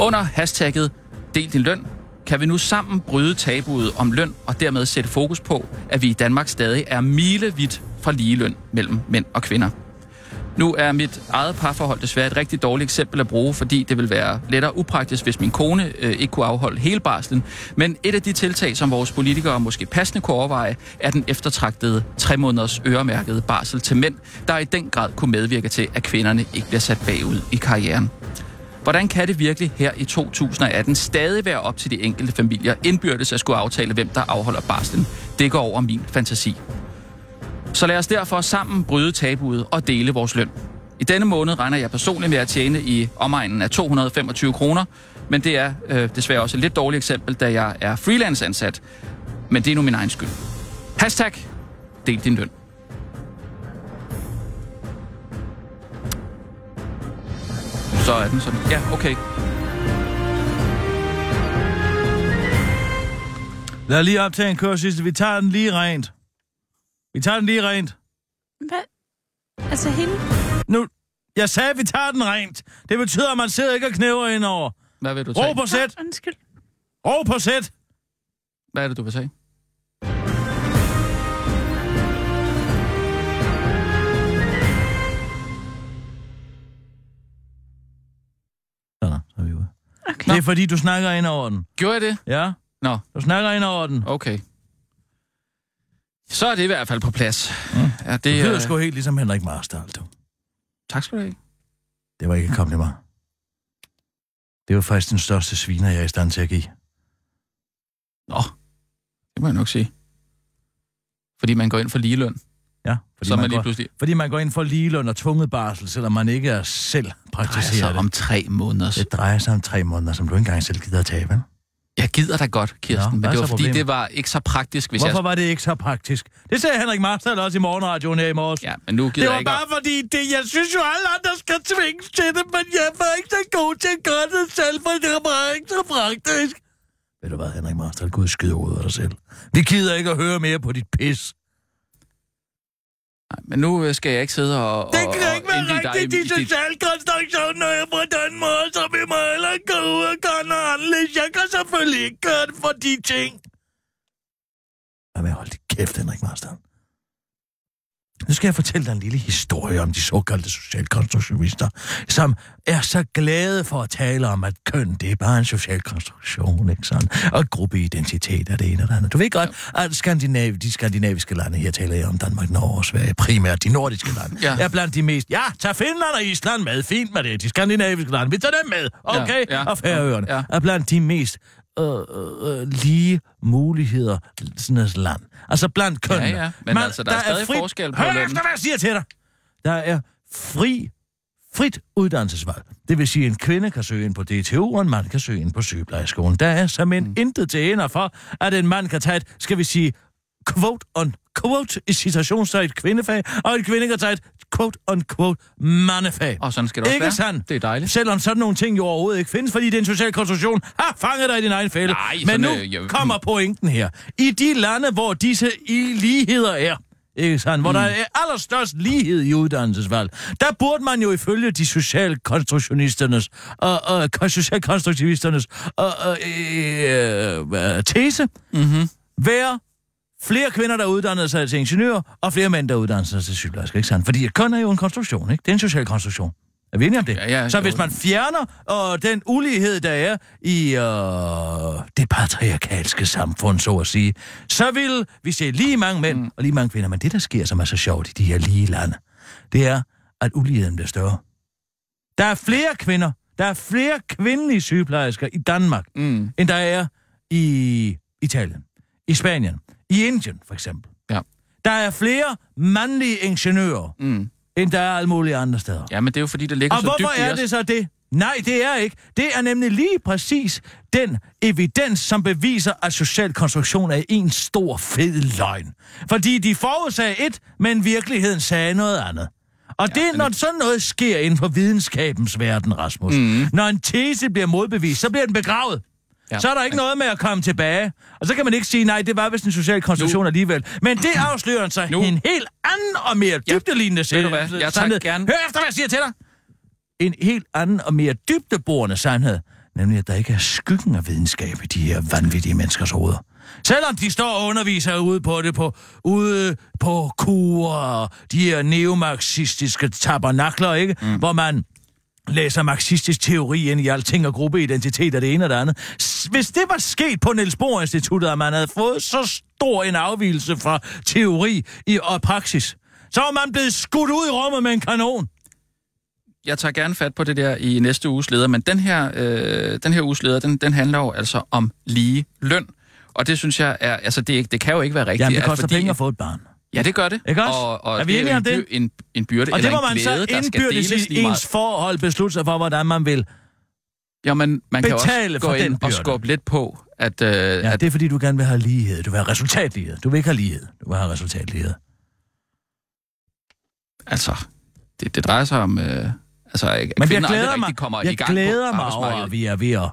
F: Under hashtagget Del din løn, kan vi nu sammen bryde tabuet om løn og dermed sætte fokus på, at vi i Danmark stadig er milevidt fra ligeløn mellem mænd og kvinder. Nu er mit eget parforhold desværre et rigtig dårligt eksempel at bruge, fordi det vil være lettere upraktisk, hvis min kone øh, ikke kunne afholde hele barslen. Men et af de tiltag, som vores politikere måske passende kunne overveje, er den eftertragtede tre måneders øremærkede barsel til mænd, der i den grad kunne medvirke til, at kvinderne ikke bliver sat bagud i karrieren. Hvordan kan det virkelig her i 2018 stadig være op til de enkelte familier indbyrdes at skulle aftale, hvem der afholder barslen? Det går over min fantasi. Så lad os derfor sammen bryde tabuet og dele vores løn. I denne måned regner jeg personligt med at tjene i omegnen af 225 kroner, men det er øh, desværre også et lidt dårligt eksempel, da jeg er freelance ansat. Men det er nu min egen skyld. Hashtag, del din løn. Så er den sådan. Ja, okay.
E: Lad lige optage en kør sidste. Vi tager den lige rent. Vi tager den lige rent.
G: Hvad? Altså, Altså hende?
E: Nu, jeg sagde, at vi tager den rent. Det betyder, at man sidder ikke og knæver indover.
F: Hvad vil du tage?
E: Ro på sæt!
G: Nå, undskyld.
E: Ro på sæt!
F: Hvad er det, du vil tage?
E: Sådan, så er vi ude.
G: Okay.
E: Det er fordi, du snakker ind over den.
F: Gjorde jeg det?
E: Ja?
F: Nå.
E: Du snakker ind over den.
F: Okay. Så er det i hvert fald på plads. Ja, det,
E: Det lyder
F: øh,
E: sgu helt ligesom Henrik Marstal, du.
F: Tak skal du have.
E: Det var ikke et kompliment. Det var faktisk den største sviner, jeg er i stand til at give.
F: Nå, det må jeg nok sige. Fordi man går ind for ligeløn,
E: Ja, fordi,
F: så er man
E: man
F: lige
E: går,
F: pludselig...
E: fordi man går ind for ligeløn og tvunget barsel, selvom man ikke er selv
F: Altså
E: praktiserer
F: om
E: det.
F: tre måneder.
E: Det drejer sig om tre måneder, som du ikke engang selv gider at tage, vel?
F: Jeg gider da godt, Kirsten,
E: Nå,
F: men
E: hvad er
F: det var
E: så
F: fordi,
E: problemet?
F: det var ikke så praktisk, hvis
E: Hvorfor var det ikke så praktisk? Det sagde Henrik Marstal også i morgenradioen her i morges.
F: jeg... Ja, men nu gider
E: Det
F: jeg
E: var
F: ikke...
E: bare
F: at-
E: fordi, det, jeg synes jo, alle andre skal tvinges til det, men jeg var ikke så god til at gøre det selv, for det var ikke så praktisk. Ved du hvad, Henrik Marstal, gud skyde ud af dig selv. Vi gider ikke at høre mere på dit pis.
F: Nej, Men nu øh, skal jeg ikke sidde og...
E: Det
F: og-
E: kan
F: og
E: ikke være
F: indvie dig
E: rigtigt,
F: i
E: de
F: dit-
E: sociale konstruktioner er på den måde, så vi må heller gå ud og gøre noget anderledes. Jeg kan selvfølgelig ikke gøre det for de ting. Hvad med at holde dit kæft, Henrik Marstal? Nu skal jeg fortælle dig en lille historie om de såkaldte socialkonstruktionister, som er så glade for at tale om, at køn, det er bare en social konstruktion, ikke sådan? Og gruppeidentitet er det ene og det andet. Du ved godt, at Skandinav, de skandinaviske lande, her taler jeg om Danmark, Norge og Sverige, primært de nordiske lande,
F: Ja.
E: ja. er blandt de mest... Ja, tag Finland og Island med, fint med det, de skandinaviske lande, vi tager dem med, okay?
F: Ja,
E: Ja,
F: ja.
E: ja, og Færøerne
F: Ja.
E: ja. er blandt de mest øh, øh, øh, lige muligheder sådan et land. Altså blandt køn
F: Ja, ja, men altså, der er stadig forskel på
E: Hør
F: lønnen.
E: efter, hvad jeg siger til dig. Der er fri, frit uddannelsesvalg. Det vil sige, at en kvinde kan søge ind på DTU, og en mand kan søge ind på sygeplejeskolen. Der er simpelthen mm. intet til ender for, at en mand kan tage et, skal vi sige, quote on quote i citationstegn kvindefag, og en kvinde kan tage et quote on quote mandefag.
F: Og sådan skal det også
E: Ikke
F: være.
E: sandt?
F: Det er dejligt.
E: Selvom sådan nogle ting jo overhovedet ikke findes, fordi det er en social konstruktion. Ha, fanget dig i din egen fælde.
F: Nej, sådan,
E: Men nu
F: øh, jeg-
E: kommer pointen her. I de lande, hvor disse i ligheder er, ikke sandt? Hvor mm. der er allerstørst lighed i uddannelsesvalg. Der burde man jo ifølge de socialkonstruktionisternes og og øh, kon- socialkonstruktivisternes og, og, øh, øh, tese mm-hmm. være flere kvinder, der uddannede sig til ingeniører, og flere mænd, der uddannede sig til sygeplejersker, ikke sandt? Fordi et køn er jo en konstruktion, ikke? Det er en social konstruktion. Er vi enige om det?
F: Ja, ja,
E: så
F: jo.
E: hvis man fjerner øh, den ulighed, der er i øh, det patriarkalske samfund, så at sige, så vil vi se lige mange mænd mm. og lige mange kvinder. Men det, der sker, som er så sjovt i de her lige lande, det er, at uligheden bliver større. Der er flere kvinder, der er flere kvindelige sygeplejersker i Danmark,
F: Mm.
E: end der er i Italien, i Spanien, i Indien for eksempel.
F: Ja.
E: Der er flere mandlige ingeniører,
F: Mm.
E: end der er alle mulige andre steder.
F: Ja, men det er jo fordi, det ligger
E: Og
F: så dybt
E: hvorfor
F: i
E: er
F: os.
E: det så det? Nej, det er ikke. Det er nemlig lige præcis den evidens, som beviser, at social konstruktion er en stor fed løgn. Fordi de forudsagde et, men virkeligheden sagde noget andet. Og ja, det, når sådan noget sker inden for videnskabens verden, Rasmus. Mm. Når en tese bliver modbevist, så bliver den begravet.
F: Mhm. Ja.
E: Ja, så er der ikke noget med at komme tilbage. Og så kan man ikke sige, nej, det var vist en social konstruktion
F: Nu-
E: nu. alligevel. Men det afslører en sig
F: Nu-
E: nu. en helt anden og mere dybdelignende
F: Ved du hvad? Jeg tager
E: sandhed.
F: gerne-
E: Hør efter, hvad jeg siger til dig en helt anden og mere dybdeborende sandhed, nemlig at der ikke er skyggen af videnskab i de her vanvittige menneskers hoveder. Selvom de står og underviser ude på det, på, ude på kurer, og de her neomarxistiske tabernakler, ikke? Mm. Hvor man læser marxistisk teori ind i alting og gruppeidentitet og det ene og det andet. S- Hvis det var sket på Niels Bohr Instituttet, at man havde fået så stor en afvielse fra teori i, og praksis, så var man blevet skudt ud i rummet med en kanon.
F: Jeg tager gerne fat på det der i næste uges leder, men den her, øh, den her uges leder, den, den handler jo altså om lige løn. Og det synes jeg er, altså det, er ikke- det kan jo ikke være rigtigt.
E: Jamen, det
F: at
E: koster
F: fordi-
E: penge at få et barn.
F: Ja, det gør det.
E: Ikke også?
F: Og, og
E: Er vi
F: det
E: enige
F: jo
E: om
F: en
E: det?
F: by- En, en byrde
E: Og det
F: eller
E: må
F: en
E: man
F: glæde,
E: så
F: der skal
E: indbyrdes
F: deles
E: i
F: lige
E: ens
F: meget.
E: forhold beslutte sig for, hvordan man vil.
F: Ja, men man kan også
E: betale
F: gå
E: for
F: ind
E: den
F: og
E: byrde.
F: skubbe lidt på, at, øh,
E: Ja,
F: at
E: det er fordi, du gerne vil have lighed. Du vil have resultatlighed. Du vil ikke have lighed. Du vil have resultatlighed.
F: altså, det, det drejer sig om, øh, altså, at
E: Men jeg
F: kvinder aldrig
E: glæder
F: rigtig
E: mig,
F: kommer i
E: jeg
F: gang
E: glæder
F: på
E: mig over, at
F: arbejdsmarkedet.
E: vi er ved at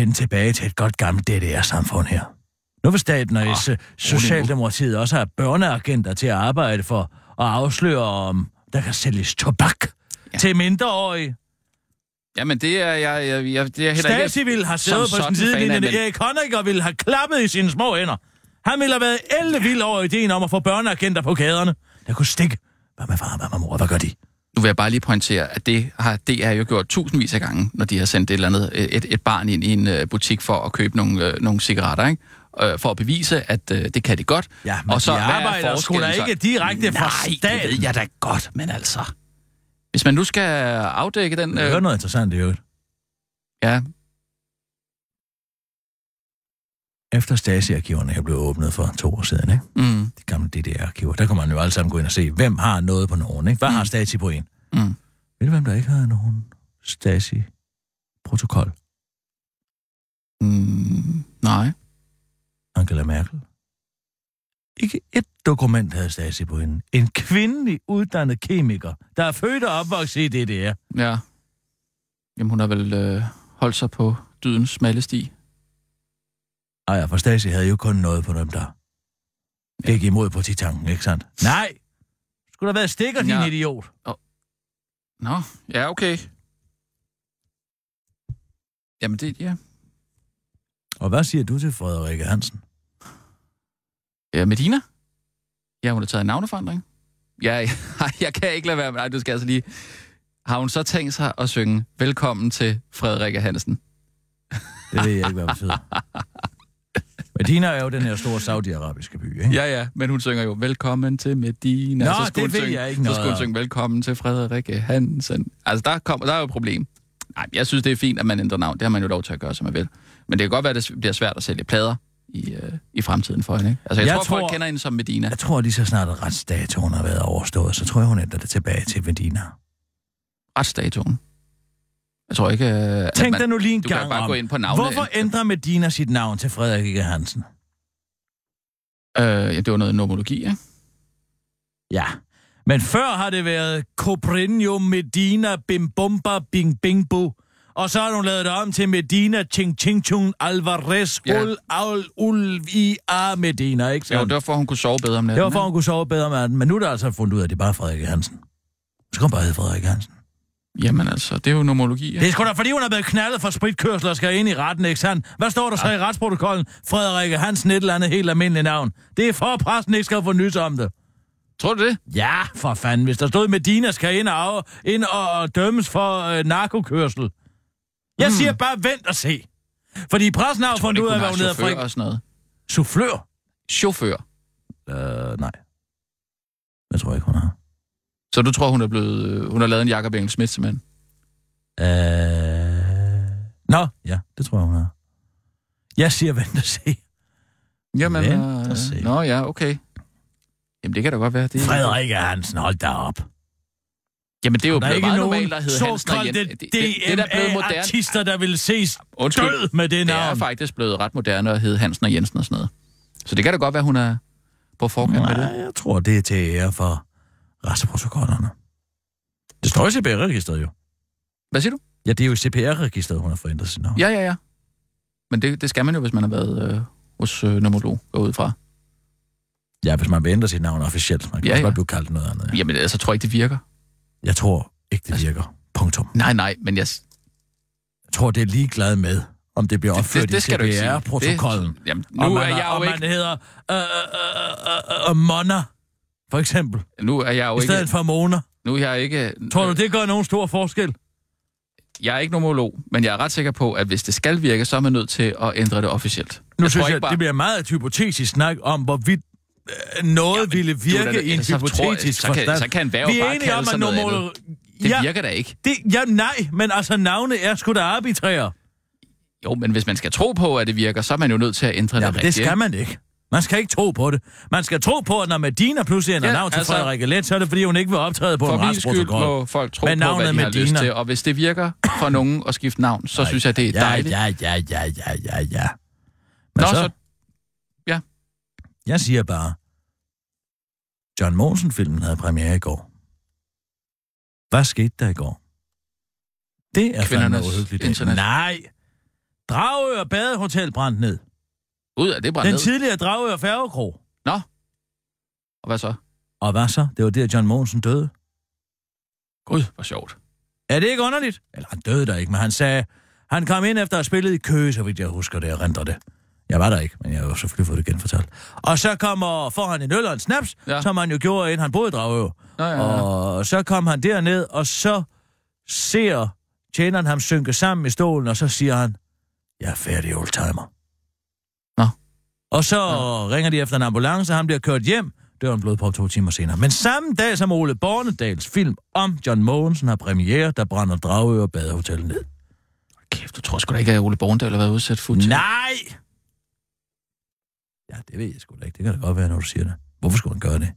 E: vende tilbage til et godt gammelt DDR-samfund her. Nu vil staten
F: Ah,
E: og oh, Socialdemokratiet også have børneagenter til at arbejde for at afsløre, om der kan sælges tobak ja. til mindreårige.
F: Jamen, det er jeg, jeg, jeg det er heller ikke...
E: Stasi ville have
F: som
E: siddet på
F: sådan
E: sin sidelinje,
F: fan af,
E: men... Erik Honecker ville have klappet i sine små hænder. Han ville have været ellevild over ideen om at få børneagenter på gaderne. Der kunne stikke. Hvad med far, hvad med mor, hvad gør de?
F: Nu vil jeg bare lige pointere, at det har DR jo gjort tusindvis af gange, når de har sendt et eller andet, øh, et, et barn ind i en øh, butik for at købe nogle, øh, nogle cigaretter, ikke? Øh, for at bevise, at øh, det kan de godt.
E: Ja, men og så de
F: hvad er
E: arbejder sgu da
F: forskellen så?
E: ikke direkte fra
F: Nej,
E: staten.
F: det ved jeg da godt, men altså... Hvis man nu skal afdække den... øh,
E: Jeg hører noget interessant i øvrigt.
F: ja,
E: Efter Stasi-arkiverne jeg blev åbnet for to år siden, ikke?
F: mm,
E: de gamle DDR-arkiver, der kan man jo alle sammen gå ind og se, hvem har noget på nogen, ikke? Hvad mm. har Stasi på en?
F: Mm.
E: Ved du, hvem der ikke har nogen Stasi-protokol?
F: mm, nej.
E: Angela Merkel. Ikke et dokument havde Stasi på hende. En kvindelig uddannet kemiker, der er født og opvokset i DDR.
F: Ja. Jamen, hun har vel øh, holdt sig på dydens smalle sti.
E: Ej, ja, for Stasi havde jo kun noget på dem der. Gik imod på titanken, ikke sandt? Nej! Skulle der være stikker, din
F: Ja.
E: idiot?
F: Nå, ja, okay. Jamen, det, ja.
E: Og hvad siger du til Frederikke Hansen?
F: ja. Medina? Ja, hun har taget en navneforandring. Ja, jeg, jeg kan ikke lade være med. Nej, du skal altså lige... Har hun så tænkt sig at synge Velkommen til Frederik Hansen?
E: Det ved jeg ikke, hvad det betyder. Medina er jo den her store saudiarabiske by, ikke?
F: Ja, ja, men hun synger jo Velkommen til Medina.
E: Nå,
F: så skulle
E: det
F: hun
E: ved
F: synge,
E: jeg ikke
F: Så
E: noget
F: skulle hun
E: om.
F: synge Velkommen til Frederik Hansen. Altså, der, kommer, der er jo et problem. Nej, jeg synes, det er fint, at man ændrer navn. Det har man jo lov til at gøre, som man vil. Men det kan godt være, at det s- bliver svært at sælge plader i, øh, i fremtiden for hende. Ikke? Altså, jeg, jeg
E: Jeg
F: tror, tror, folk
E: tror-
F: kender hende som Medina.
E: Jeg tror lige så snart, at retsdatoen har været overstået, så tror jeg, hun ændrer det tilbage til Medina.
F: Retsdatoen. Jeg tror ikke, øh, at
E: Tænk
F: man...
E: dig nu lige en
F: du kan
E: gang
F: bare
E: om.
F: gå ind på navnet.
E: Hvorfor ændrer Medina sit navn til Frederik Ikke Hansen?
F: Øh, ja, det var noget nomologi, ikke?
E: Ja. Men før har det været Coprinio Medina Bimbomba Bing Bingbo. Og så har hun lavet det om til Medina Ching Ching Chung Alvarez
F: Ja.
E: Hul Aul Ulv I A Medina, ikke
F: Jo,
E: sandt?
F: det var for, at hun kunne sove bedre om natten.
E: Det var for, at
F: ikke?
E: hun kunne sove bedre om natten, men nu er der altså fundet ud af, at det er bare Frederik Hansen. Så kan hun bare hedde Frederik Hansen.
F: Jamen altså, det er jo nomologi,
E: Det
F: ikke?
E: er sgu da, fordi hun er blevet knaldet for spritkørsel og skal ind i retten, ikke sandt? Hvad står der så i retsprotokollen? Frederik Hansen, et eller andet helt almindeligt navn. Det er for, at præsten ikke skal få nyt om det.
F: Tror du det?
E: Ja, for fanden. Hvis der stod Medina, skal ind og, af, ind og, og dømmes for øh, narkokørsel. Jeg mm. siger bare, vent og se. Fordi pressen har jo fundet ud af, hvad hun hedder.
F: chauffør
E: Frederik.
F: og sådan noget.
E: Soufflør?
F: Chauffør.
E: Øh, nej. Jeg tror ikke, hun har.
F: Så du tror, hun er blevet... øh, Hun har lavet en Jacob Engel Schmidt, simpelthen?
E: Øh... Nå, ja, det tror jeg, hun har. Jeg siger, vent og se.
F: Jamen,
E: Vent
F: øh,
E: og se.
F: Nå ja, okay. Jamen, det kan da godt være. Det,
E: Frederik Hansen, hold da op.
F: Jamen, det er jo
E: Der er
F: blevet
E: ikke
F: meget
E: nogen
F: normalt at hedde Hansen og Jensen.
E: såkaldte
F: Det, det, det, der er blevet moderne. Ah,
E: DMA-artister, der vil ses
F: Undskyld.
E: død med det
F: Det er
E: navn.
F: faktisk blevet ret moderne at hedde Hansen og Jensen og sådan noget. Så det kan da godt være, hun er på forkant med det.
E: Nej, jeg tror, det er til ære for retsprotokollerne. Det står i CPR-registeret jo.
F: Hvad siger du?
E: Ja, det er jo i CPR-registeret, hun har forændret sit navn.
F: Ja, ja, ja. Men det, det skal man jo, hvis man har været øh, hos øh, nomolog går jeg ud fra.
E: ja hvis man vil ændre sit navn officielt, man kan
F: Ja,
E: ja, også
F: ja. Altså-
E: godt blive kaldt noget andet. Ja.
F: Jamen, altså, tror jeg ikke, det virker.
E: Jeg tror ikke, det virker. Punktum.
F: Nej, nej, men jeg... Det,
E: Jeg tror, det er ligeglad med, om det bliver opført
F: det, det skal du
E: i
F: ikke sige. Det-
E: CPR-protokollen.
F: Jamen,
E: Og
F: nu
E: man
F: er jeg
E: og
F: jo ikke...
E: man hedder øh, øh, øh, øh, øh, Mona, for eksempel,
F: Nu er jeg jo
E: i stedet
F: ikke... Øh.
E: for Mona.
F: Nu er jeg ikke...
E: Tror du, det gør nogen stor forskel?
F: Jeg er ikke nomolog, men jeg er ret sikker på, at hvis det skal virke, så er man nødt til at ændre det officielt.
E: Nu
F: tror
E: synes
F: ikke
E: jeg,
F: bare-
E: bare... det bliver meget et hypotetisk snak om, hvorvidt øh, noget ja, ville
F: du er da- altså,
E: virke i en
F: så tror jeg-
E: hypotetisk
F: så kan-
E: forstand.
F: så kan en værge
E: Vi er
F: bare
E: enige
F: kalde
E: om,
F: sig
E: at
F: noget
E: normal...
F: Det
E: ja,
F: ja. virker da ikke.
E: det, ja, nej, men altså navne er sgu da arbitrære.
F: Jo, men hvis man skal tro på, at det virker, så er man jo nødt til at ændre
E: Ja,
F: det
E: det
F: rigtigt.
E: skal man ikke. Man skal ikke tro på det. Man skal tro på, at når Medina pludselig ændrer
F: Ja,
E: ja, navn til
F: altså-
E: altså... Frederik Let, så er det, fordi hun ikke vil optræde på
F: For
E: en
F: min skyld
E: retsprotokol.
F: må folk tro
E: Men
F: på, hvad
E: navnet
F: de har
E: Medina.
F: lyst til. Og hvis det virker for nogen at skifte navn, så synes jeg, det er
E: ja,
F: dejligt.
E: Ja, ja, ja, ja, ja, ja. Men
F: Nå,
E: Nå, så, så...
F: så- ja.
E: Jeg siger bare, John Monsen-filmen havde premiere i går. Hvad skete der i går? Det er fandme
F: Kvindernes
E: uhyggeligt.
F: internet.
E: Nej! Dragør Badehotel brændt ned.
F: Ud af det brændt
E: Den
F: ned.
E: tidligere Dragør Færgekro.
F: Nå. Og hvad så?
E: Og hvad så? Det var der, John Monsen døde.
F: Gud, hvor sjovt.
E: Er det ikke underligt? Eller han døde der ikke, men han sagde, han kom ind efter at have spillet i Køge, så vidt jeg husker det og renter det. Jeg var der ikke, men jeg har jo selvfølgelig fået det genfortalt. Og så kommer får han en øl og en snaps, ja.
F: Ja.
E: som han jo gjorde, inden han boede i Dragø.
F: Nå, ja, ja.
E: Og så kom han derned, og så ser tjeneren ham synke sammen i stolen, og så siger han, jeg er færdig oldtimer.
F: Nå.
E: Og så ja. ringer de efter en ambulance, og han bliver kørt hjem. Døren blodprop to timer senere. Men samme dag som Ole Bornedals film om John Mogensen har premiere, der brænder Dragø og Badehotel ned.
F: Kæft, du tror sgu da ikke, at Ole Borndal har været udsat for til.
E: Nej! Ja, det ved jeg sgu da ikke. Det kan da godt være, når du siger det. Hvorfor skulle han gøre det?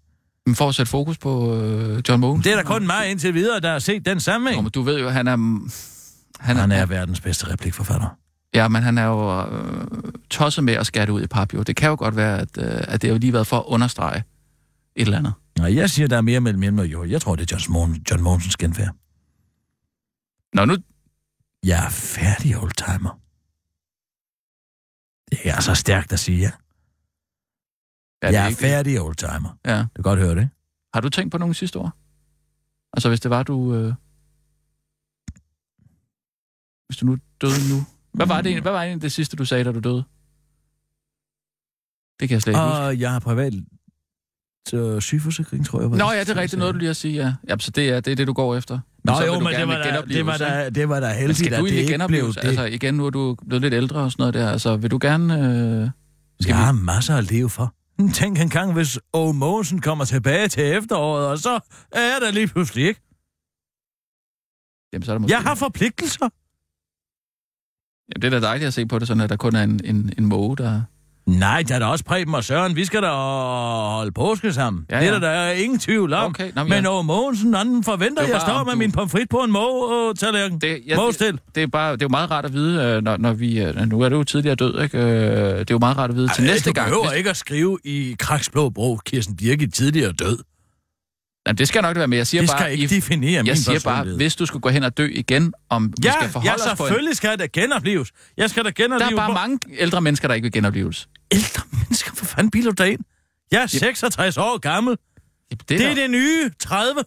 F: Men for at sætte fokus på øh, John Mogensen.
E: Det er da kun mig indtil videre, der har set den
F: Nå,
E: sammenhæng.
F: men du ved jo, han er... Han er,
E: Han er verdens bedste replikforfatter.
F: Ja, men han er jo øh, tosset med at skære det ud i pap, jo. Det kan jo godt være, at, øh, at det har jo lige været for at understrege et eller andet.
E: Nej, jeg siger, der er mere mellem himmel og jord. Jeg tror, det er John, Mogen, John Mogensens genfærd.
F: Nå, nu...
E: Jeg er færdig, oldtimer. Det er så stærkt at sige, ja.
F: Ja, det
E: jeg er
F: ikke-
E: færdig, oldtimer.
F: Ja.
E: Du kan godt høre det.
F: Har du tænkt på nogen sidste år? Altså, hvis det var, du... Øh... Hvis du nu døde nu. Hvad var, det, egentlig- hvad var egentlig det sidste, du sagde, da du døde? Det kan jeg slet ikke huske.
E: Og jeg har privat øh, sygeforsikring, tror jeg. var
F: Nå ja, det er rigtigt
E: sidste.
F: noget, du lige har sige, ja. Jamen, så det er, det er det, du går efter.
E: Nå
F: så vil
E: jo,
F: du
E: men det
F: gerne
E: var,
F: med
E: da, det, var
F: genoplevelse, ikke?
E: da, det var da
F: Men
E: heldigt,
F: skal
E: at
F: du
E: det
F: egentlig
E: ikke blev
F: genopleves?
E: det.
F: Altså igen, nu er du blevet lidt ældre og sådan noget der. Altså, vil du gerne... Øh...
E: Skal
F: Skal
E: jeg
F: vi-
E: har masser at leve for. Tænk engang, hvis O. Mogensen kommer tilbage til efteråret, og så er jeg der lige pludselig ikke.
F: Jamen, så er der måske...
E: Jeg har forpligtelser.
F: Jamen, det er da dejligt at se på det sådan, at der kun er en, en, en måge, der...
E: Nej, der er da også Preben og Søren. Vi skal da holde påske sammen. Ja,
F: Ja,
E: ja. Det er
F: ja.
E: der, der er ingen tvivl om.
F: Okay, nå, men
E: men
F: jeg-
E: over Mogensen, han forventer,
F: Det
E: at
F: er
E: jeg
F: bare,
E: står
F: om
E: med
F: du-
E: min pomfrit på en måge-tallerken.
F: Det,
E: Mågestil.
F: det, det, er bare, det er jo meget rart at vide, øh, når, når vi... øh, Nu er du jo tidligere død, ikke? Øh, Det er jo meget rart at vide til næste
E: du
F: gang.
E: behøver
F: Hvis-
E: ikke at skrive i Kraksblå Bro, Kirsten Birgit tidligere død.
F: Jamen, det skal nok det være med. Jeg siger
E: Det
F: bare,
E: skal ikke
F: I-
E: definere min
F: jeg siger bare,
E: personlighed.
F: hvis du skulle gå hen og dø igen, om vi
E: Ja,
F: skal forholde
E: ja,
F: os på en...
E: selvfølgelig skal jeg da genopleves. Jeg skal da genopleves.
F: Der er bare
E: på-
F: mange ældre mennesker, der ikke vil genopleves.
E: ældre mennesker. Hvor fanden biler du dig ind? Jeg er 66 år gammel.
F: Jamen,
E: Det er
F: der-
E: det nye 30.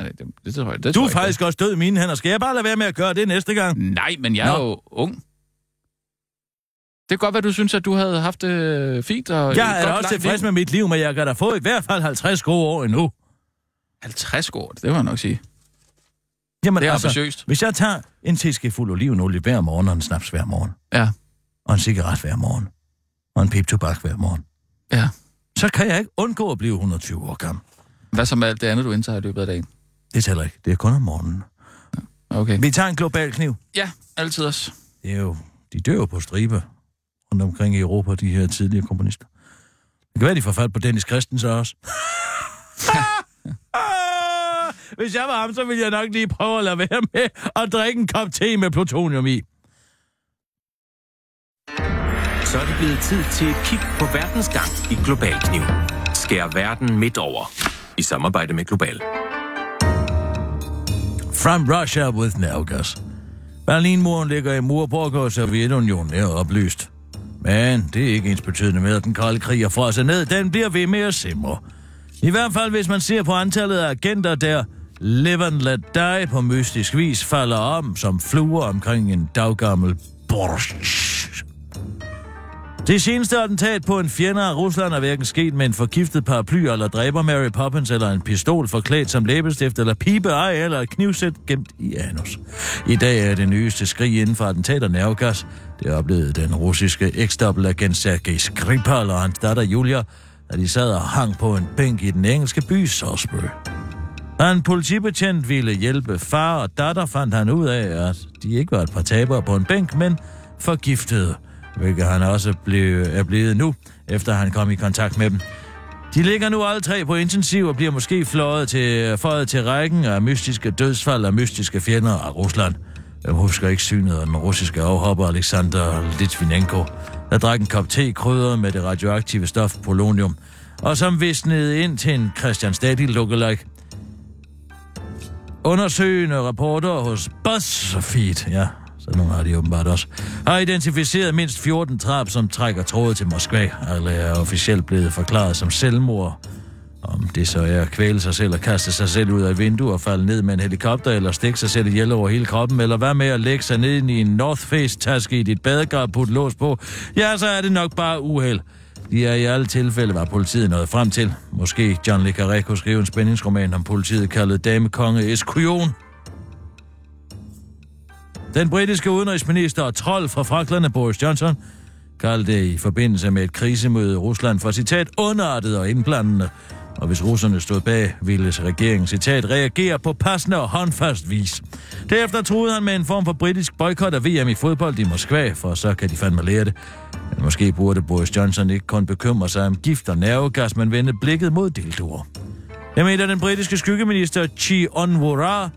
F: Nej, det, det, tror jeg, det
E: Du er
F: tror jeg ikke,
E: faktisk også død i mine hænder. Skal jeg bare lade være med at gøre det næste gang?
F: Nej, men jeg er
E: Nå.
F: jo ung. Det kan godt være, du synes, at du havde haft det fint. Og
E: Jeg er da også tilfreds med mit liv, men jeg kan da få i hvert fald 50 gode år endnu.
F: 50 år, det må jeg nok sige.
E: Jamen
F: Det er
E: altså,
F: ambitiøst.
E: hvis jeg tager en teske fuld olivenolie hver morgen, og en snaps hver morgen,
F: Ja.
E: og en cigaret hver morgen, og en pip-tobak hver morgen,
F: Ja.
E: så kan jeg ikke undgå at blive 120 år gammel.
F: Hvad så med alt det andet, du indtager i løbet af dagen?
E: Det tæller ikke. Det er kun om morgenen.
F: Okay.
E: Vi tager en global kniv.
F: Ja, altid også.
E: Det er jo, de dør jo på stribe rundt omkring i Europa, de her tidligere komponister. Det kan være, de får fat på Dennis Christensen også. Ah! Hvis jeg var ham, så ville jeg nok lige prøve at lade være med at drikke en kop te med plutonium i.
D: Så er det blevet tid til et kig på verdens gang i Global Kniv. Skær verden midt over. I samarbejde med Global.
E: From Russia with no gas. Berlinmuren ligger i Murborg, og Sovjetunionen er opløst. Men det er ikke ens betydende med, at den kolde krig er frosset ned. Den bliver ved med at simre. I hvert fald, hvis man ser på antallet af agenter, der live and let die på mystisk vis falder om som fluer omkring en daggammel borsch. Det seneste attentat på en fjende af Rusland er hverken sket med en forgiftet paraply eller dræber Mary Poppins eller en pistol forklædt som læbestift eller pibe ej eller et knivsæt gemt i anus. I dag er det nyeste skrig inden for attentat og nervegas. Det oplevede den russiske eksdobbelagent Sergej Skripal og hans datter Julia, da de sad og hang på en bænk i den engelske by Salisbury. Da en politibetjent ville hjælpe far og datter, fandt han ud af, at de ikke var et par tabere på en bænk, men forgiftede, hvilket han også blev, er blevet nu, efter han kom i kontakt med dem. De ligger nu alle tre på intensiv og bliver måske fløjet til, fløjet til rækken af mystiske dødsfald af mystiske fjender af Rusland. Jeg husker ikke synet af den russiske afhopper Alexander Litvinenko, der drak en kop te krydret med det radioaktive stof polonium, og som visnede ind til en Christian Stadil lookalike. Undersøgende rapporter hos BuzzFeed, ja, sådan nogle har de åbenbart også, har identificeret mindst 14 drab, som trækker tråde til Moskva, eller er officielt blevet forklaret som selvmord, Om det så er at kvæle sig selv og kaste sig selv ud af vinduet og falde ned med en helikopter, eller stikke sig selv ihjel over hele kroppen, eller hvad med at lægge sig ned i en North Face-taske i dit badekar og putte lås på, ja, så er det nok bare uheld. De er i alle tilfælde, var politiet nået frem til. Måske John Le Carré kunne skrive en spændingsroman om politiet kaldet Damekonge Eskujon. Den britiske udenrigsminister og trold fra Fraklerne Boris Johnson kaldte det i forbindelse med et krisemøde i Rusland for citat underartet og indblandende. Og hvis russerne stod bag, ville regeringen citat reagere på passende og håndfast vis. Derefter troede han med en form for britisk boykot af VM i fodbold i Moskva, for så kan de fandme lære det. Men måske burde Boris Johnson ikke kun bekymre sig om gift og nervegas, men vende blikket mod dildoer. Jeg mener den britiske skyggeminister Chi Onwara,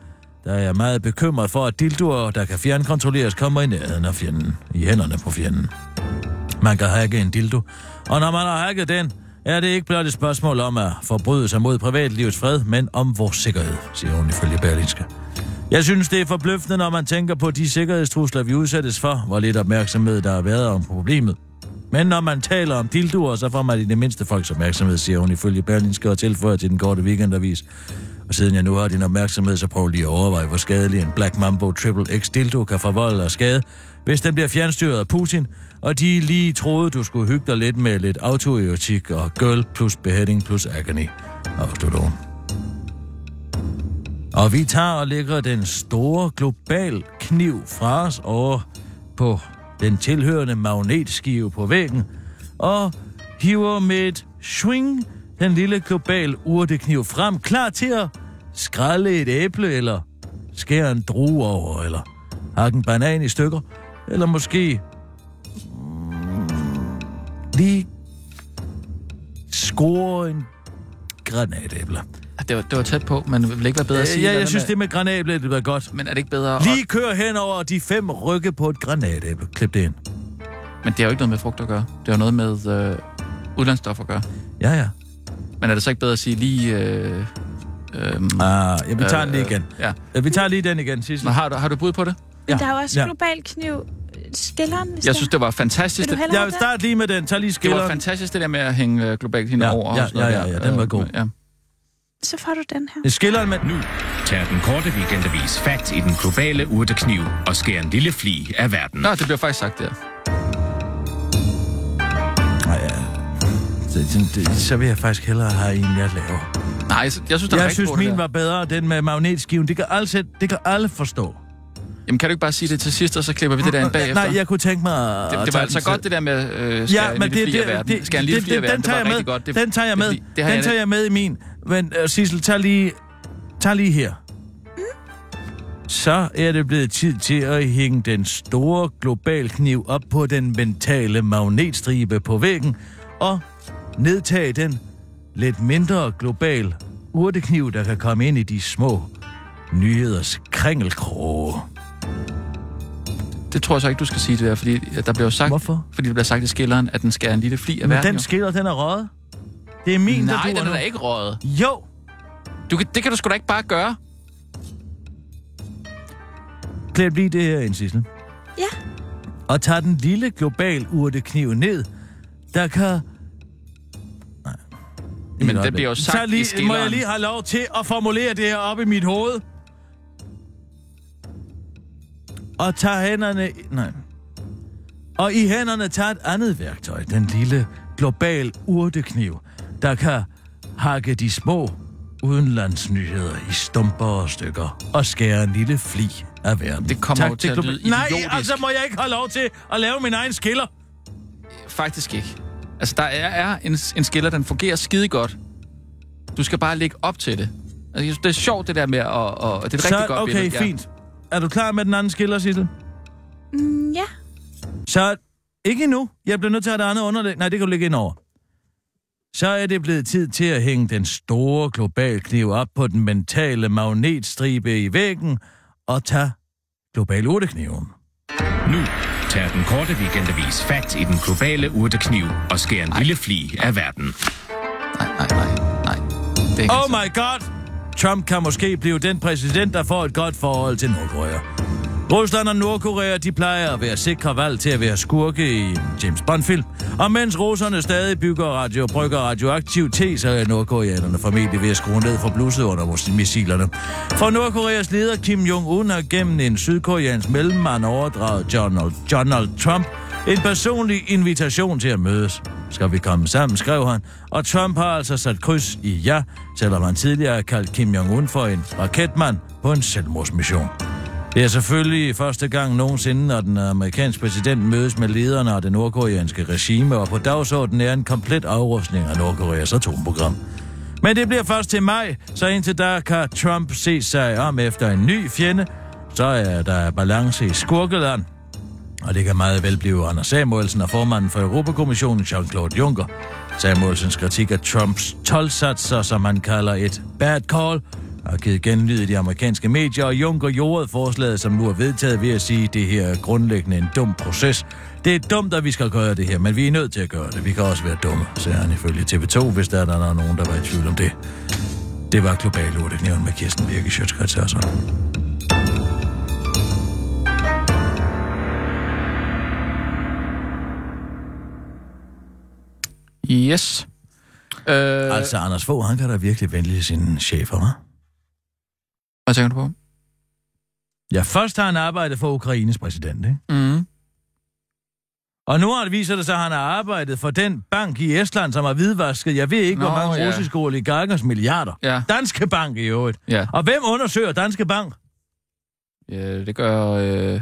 E: der er meget bekymret for, at dildoer, der kan fjernkontrolleres, kommer i nærheden af fjenden, i hænderne på fjenden. Man kan hacke en dildo. Og når man har hacket den, er det ikke blot et spørgsmål om at forbryde sig mod privatlivets fred, men om vores sikkerhed, siger hun ifølge Berlinske. Jeg synes, det er forbløffende, når man tænker på de sikkerhedstrusler, vi udsættes for, hvor lidt opmærksomhed der har været om problemet. Men når man taler om dildoer, så får man i det mindste folks opmærksomhed, siger hun ifølge Berlinske og tilføjer til den korte weekendavis. Og siden jeg nu har din opmærksomhed, så prøv lige at overveje, hvor skadelig en Black Mambo Triple X dildo kan forvolde og skade, hvis den bliver fjernstyret af Putin, og de lige troede, du skulle hygge dig lidt med lidt autoerotik og girl plus beheading plus agony. Afslutter hun. Og vi tager og lægger den store global kniv fra os over på den tilhørende magnetskive på væggen, og hiver med et swing den lille global urtekniv frem, klar til at skrælle et æble, eller skære en drue over, eller hakke en banan i stykker, eller måske mm, lige score en granatæble.
F: Ah, Det var, det var tæt på, men det ville ikke være bedre at sige.
E: Øh, Ja,
F: hvad
E: jeg
F: der
E: synes,
F: med,
E: det med granatæblet ville være godt.
F: Men er det ikke bedre at...
E: Lige kør hen over de fem rykke på et granatæble. Klip det ind.
F: Men det har jo ikke noget med frugt at gøre. Det har noget med øh, udlandsstoffer at gøre.
E: Ja, ja.
F: Men er det så ikke bedre at sige lige... Øh, øh,
E: Ah, ja vi tager den lige igen.
F: ja.
E: Ja, Vi tager lige den igen, Sissel.
F: Men har, du, har du bud på det?
G: Men
E: Ja.
G: der er jo også
E: Ja.
G: global kniv. øh, Skilleren, hvis
F: Jeg synes, det var fantastisk.
G: Vil
F: Det,
G: du hellere
E: Jeg
G: have
E: vil
G: det?
E: starte lige med den. Tag lige
F: det var
E: skilleren.
F: fantastisk, det der med at hænge øh, globalt hende
E: Ja,
F: over. og
E: ja,
F: sådan noget
E: ja, ja,
F: der.
E: den var
F: Øh,
E: god.
F: Ja.
G: Så får du den her.
E: Skilleren, men...
D: Nu tager den korte weekendavis fat i den globale urtekniv og skærer en lille fli af verden.
F: Nå, det bliver faktisk sagt der.
E: Nej, ja. Så, så- det- så vil jeg faktisk hellere have en, jeg laver.
F: Nej, jeg, jeg synes, der er
E: Jeg
F: rigtig
E: synes,
F: god, det
E: min
F: der.
E: var bedre, den med magnetskiven. Det kan alle, sæt- det kan alle forstå.
F: Jamen, kan du ikke bare sige det til sidst, og så klipper vi det der ind bagefter?
E: Nej, jeg kunne tænke mig... at
F: det, det var
E: tage
F: altså
E: den
F: godt,
E: selv.
F: det der med øh,
E: Ja,
F: skære en
E: men
F: lille
E: det,
F: fli af
E: det,
F: verden.
E: det,
F: Skære en lille
E: det,
F: fli af
E: det,
F: verden,
E: den
F: det
E: tager
F: var
E: jeg
F: rigtig
E: med.
F: godt. Det-
E: Den tager jeg
F: det-
E: med.
F: det- det har
E: Den
F: jeg-
E: tager jeg med i min. Men øh, Sissel, tag lige, tag lige her. Så er det blevet tid til at hænge den store global kniv op på den mentale magnetstribe på væggen og nedtage den lidt mindre global urtekniv, der kan komme ind i de små nyheders kringelkroge.
F: Det tror jeg så ikke, du skal sige det der, fordi der bliver jo sagt...
E: Hvorfor?
F: Fordi det bliver sagt i skilleren, at den skærer en lille fli af
E: Men
F: verden.
E: den skiller, den er røget. Det er min,
F: jo.
E: der
F: Nej,
E: du
F: den er da ikke røget.
E: Jo,
F: Du kan, det kan du sgu da ikke bare gøre.
E: Klip lige det her ind, Sissel.
G: Ja.
E: Og tag den lille global urtekniv ned, der kan... Nej.
F: Men
E: Et
F: det bliver jo
E: øjeblik.
F: sagt
E: Så
F: i
E: lige, Må
F: skilleren.
E: jeg lige have lov til at formulere det her op i mit hoved? Og tag hænderne... Nej. Og i hænderne tager et andet værktøj, den lille global urtekniv, der kan hakke de små udenlandsnyheder i stumper og stykker og skære en lille fli af verden.
F: Det kommer jo til at
E: globa-
F: lyde
E: Nej,
F: idiotisk.
E: altså må jeg ikke have lov til at lave min egen skiller.
F: Faktisk ikke. Altså, der er, er en, en skiller, den fungerer skide godt. Du skal bare lægge op til det. Altså, jeg synes, det er sjovt, det der med, og, og det er et
E: Så,
F: rigtig godt
E: okay,
F: billede.
E: fint. Er du klar med den anden skiller, Sissel?
G: Mm, ja.
E: Så ikke endnu. Jeg bliver nødt til at have det andet underlæg. Nej, det kan du ligge ind over. Så er det blevet tid til at hænge den store global kniv op på den mentale magnetstribe i væggen og tage global urtekniven.
D: Nu tager den korte weekendavis fat i den globale urtekniv og skærer en lille fli af verden.
F: Ja. Nej, nej, nej, nej. Det er ikke
E: Oh
F: oh
E: my god! Trump kan måske blive den præsident, der får et godt forhold til Nordkorea. Rusland og Nordkorea, de plejer at være sikre valg til at være skurke i en James Bond-film. Og mens russerne stadig bygger radio og brygger radioaktiv te, så er nordkoreanerne formentlig ved at skrue ned for blusset under vores missilerne. For Nordkoreas leder Kim Jong-un har gennem en sydkoreansk mellemmand overdraget Donald, Donald Trump en personlig invitation til at mødes. Skal vi komme sammen, skrev han, og Trump har altså sat kryds i ja, selvom han tidligere har kaldt Kim Jong-un for en raketmand på en selvmordsmission. Det er selvfølgelig første gang nogensinde, når den amerikanske præsident mødes med lederne af det nordkoreanske regime, og på dagsordenen er en komplet afrustning af Nordkoreas atomprogram. Men det bliver først til maj, så indtil da kan Trump se sig om efter en ny fjende, så er der balance i skurkeland. Og det kan meget vel blive Anders Samuelsen og formanden for Europakommissionen, Jean-Claude Juncker. Samuelsens kritik af Trumps 12-satser, som han kalder et bad call, har givet genlyd i de amerikanske medier, og Juncker jordede forslaget, som nu er vedtaget ved at sige, at det her er grundlæggende en dum proces. Det er dumt, at vi skal gøre det her, men vi er nødt til at gøre det. Vi kan også være dumme, sagde han ifølge TV2, hvis der er der er nogen, der var i tvivl om det. Det var Global Lorteknævn med Kirsten Birke, Sjøtskrets Hørsholm.
F: Yes. Øh,
E: Altså, Anders Fogh, han kan da virkelig venlige sine chefer, hva'?
F: hvad tænker du på?
E: Ja, først har han arbejdet for Ukraines præsident, ikke?
F: Mm.
E: Og nu har det viser det sig, at han har arbejdet for den bank i Estland, som har hvidvasket, jeg ved ikke, Nå,
F: Nå,
E: hvor mange
F: ja.
E: ja. russiske oligarkers milliarder.
F: Ja.
E: Danske Bank i øvrigt.
F: Ja.
E: Og hvem undersøger Danske Bank?
F: ja, det gør... Øh,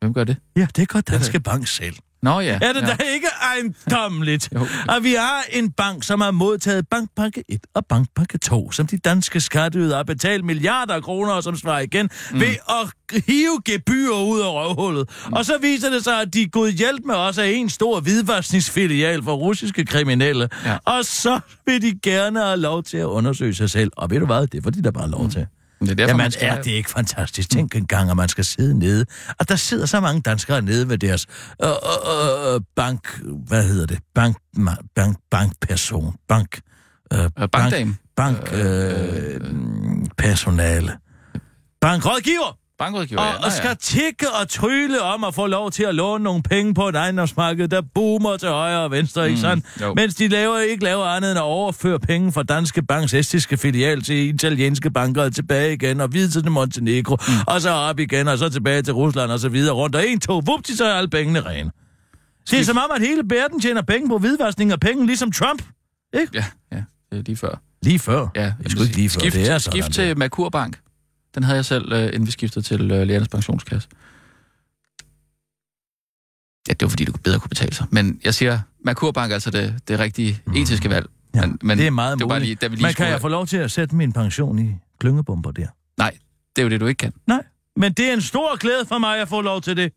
F: hvem gør det?
E: Ja, det gør Danske Bank selv.
F: Nå ja.
E: Er det
F: ja.
E: ja. da ikke ejendommeligt?
F: Jo.
E: Og vi har en bank, som har modtaget bankpakke 1 og bankpakke 2, som de danske skatteydere har betalt milliarder af kroner, og som svarer igen, mm. ved at hive gebyrer ud af røvhullet. Mm. Og så viser det sig, at de god hjælp med os er en stor hvidvaskningsfilial for russiske kriminelle.
F: Ja.
E: Og så vil de gerne have lov til at undersøge sig selv. Og ved du hvad, det får de da bare lov til.
F: Det er derfor,
E: Jamen,
F: man skal...
E: er det ikke fantastisk? Tænk engang, at man skal sidde nede, og der sidder så mange danskere nede ved deres øh, øh, øh, bank... Hvad hedder det? Bank... ma- bank bankperson. Bank... Øh,
F: bankdame.
E: Bank... Øh, øh, personale. Bankrådgiver!
F: Bankrådgiver,
E: Og,
F: ja. Nå,
E: og skal tikke og trylle om at få lov til at låne nogle penge på et ejendomsmarked, der boomer til højre og venstre, mm, ikke sådan?
F: jo.
E: Mens de laver, ikke laver andet end at overføre penge fra Danske Banks estiske filial til italienske banker og tilbage igen, og videre til Montenegro, mm. og så op igen, og så tilbage til Rusland og så videre rundt, og en, to, vupti, så er alle pengene rene. Det er som om, at hele verden tjener penge på hvidvaskning af penge, ligesom Trump.
F: Ja, ja. Det er lige før.
E: Lige før.
F: Ja,
E: jeg skulle ikke lige før.
F: skift,
E: det er sådan.
F: skift
E: der.
F: til Merkurbank. Den havde jeg selv, øh, inden vi skiftede til øh, lærernes pensionskasse. Ja, det var fordi, det kunne bedre kunne betale sig. Men jeg siger, Merkurbank er altså det, det rigtige mm. etiske valg.
E: Ja,
F: men, men
E: det er meget
F: det var
E: muligt.
F: bare lige, da vi lige
E: Men kan
F: skulle-
E: jeg få lov til at sætte min pension i klyngebomber der?
F: Nej, det er jo det, du ikke kan.
E: Nej, men det er en stor glæde for mig at få lov til det.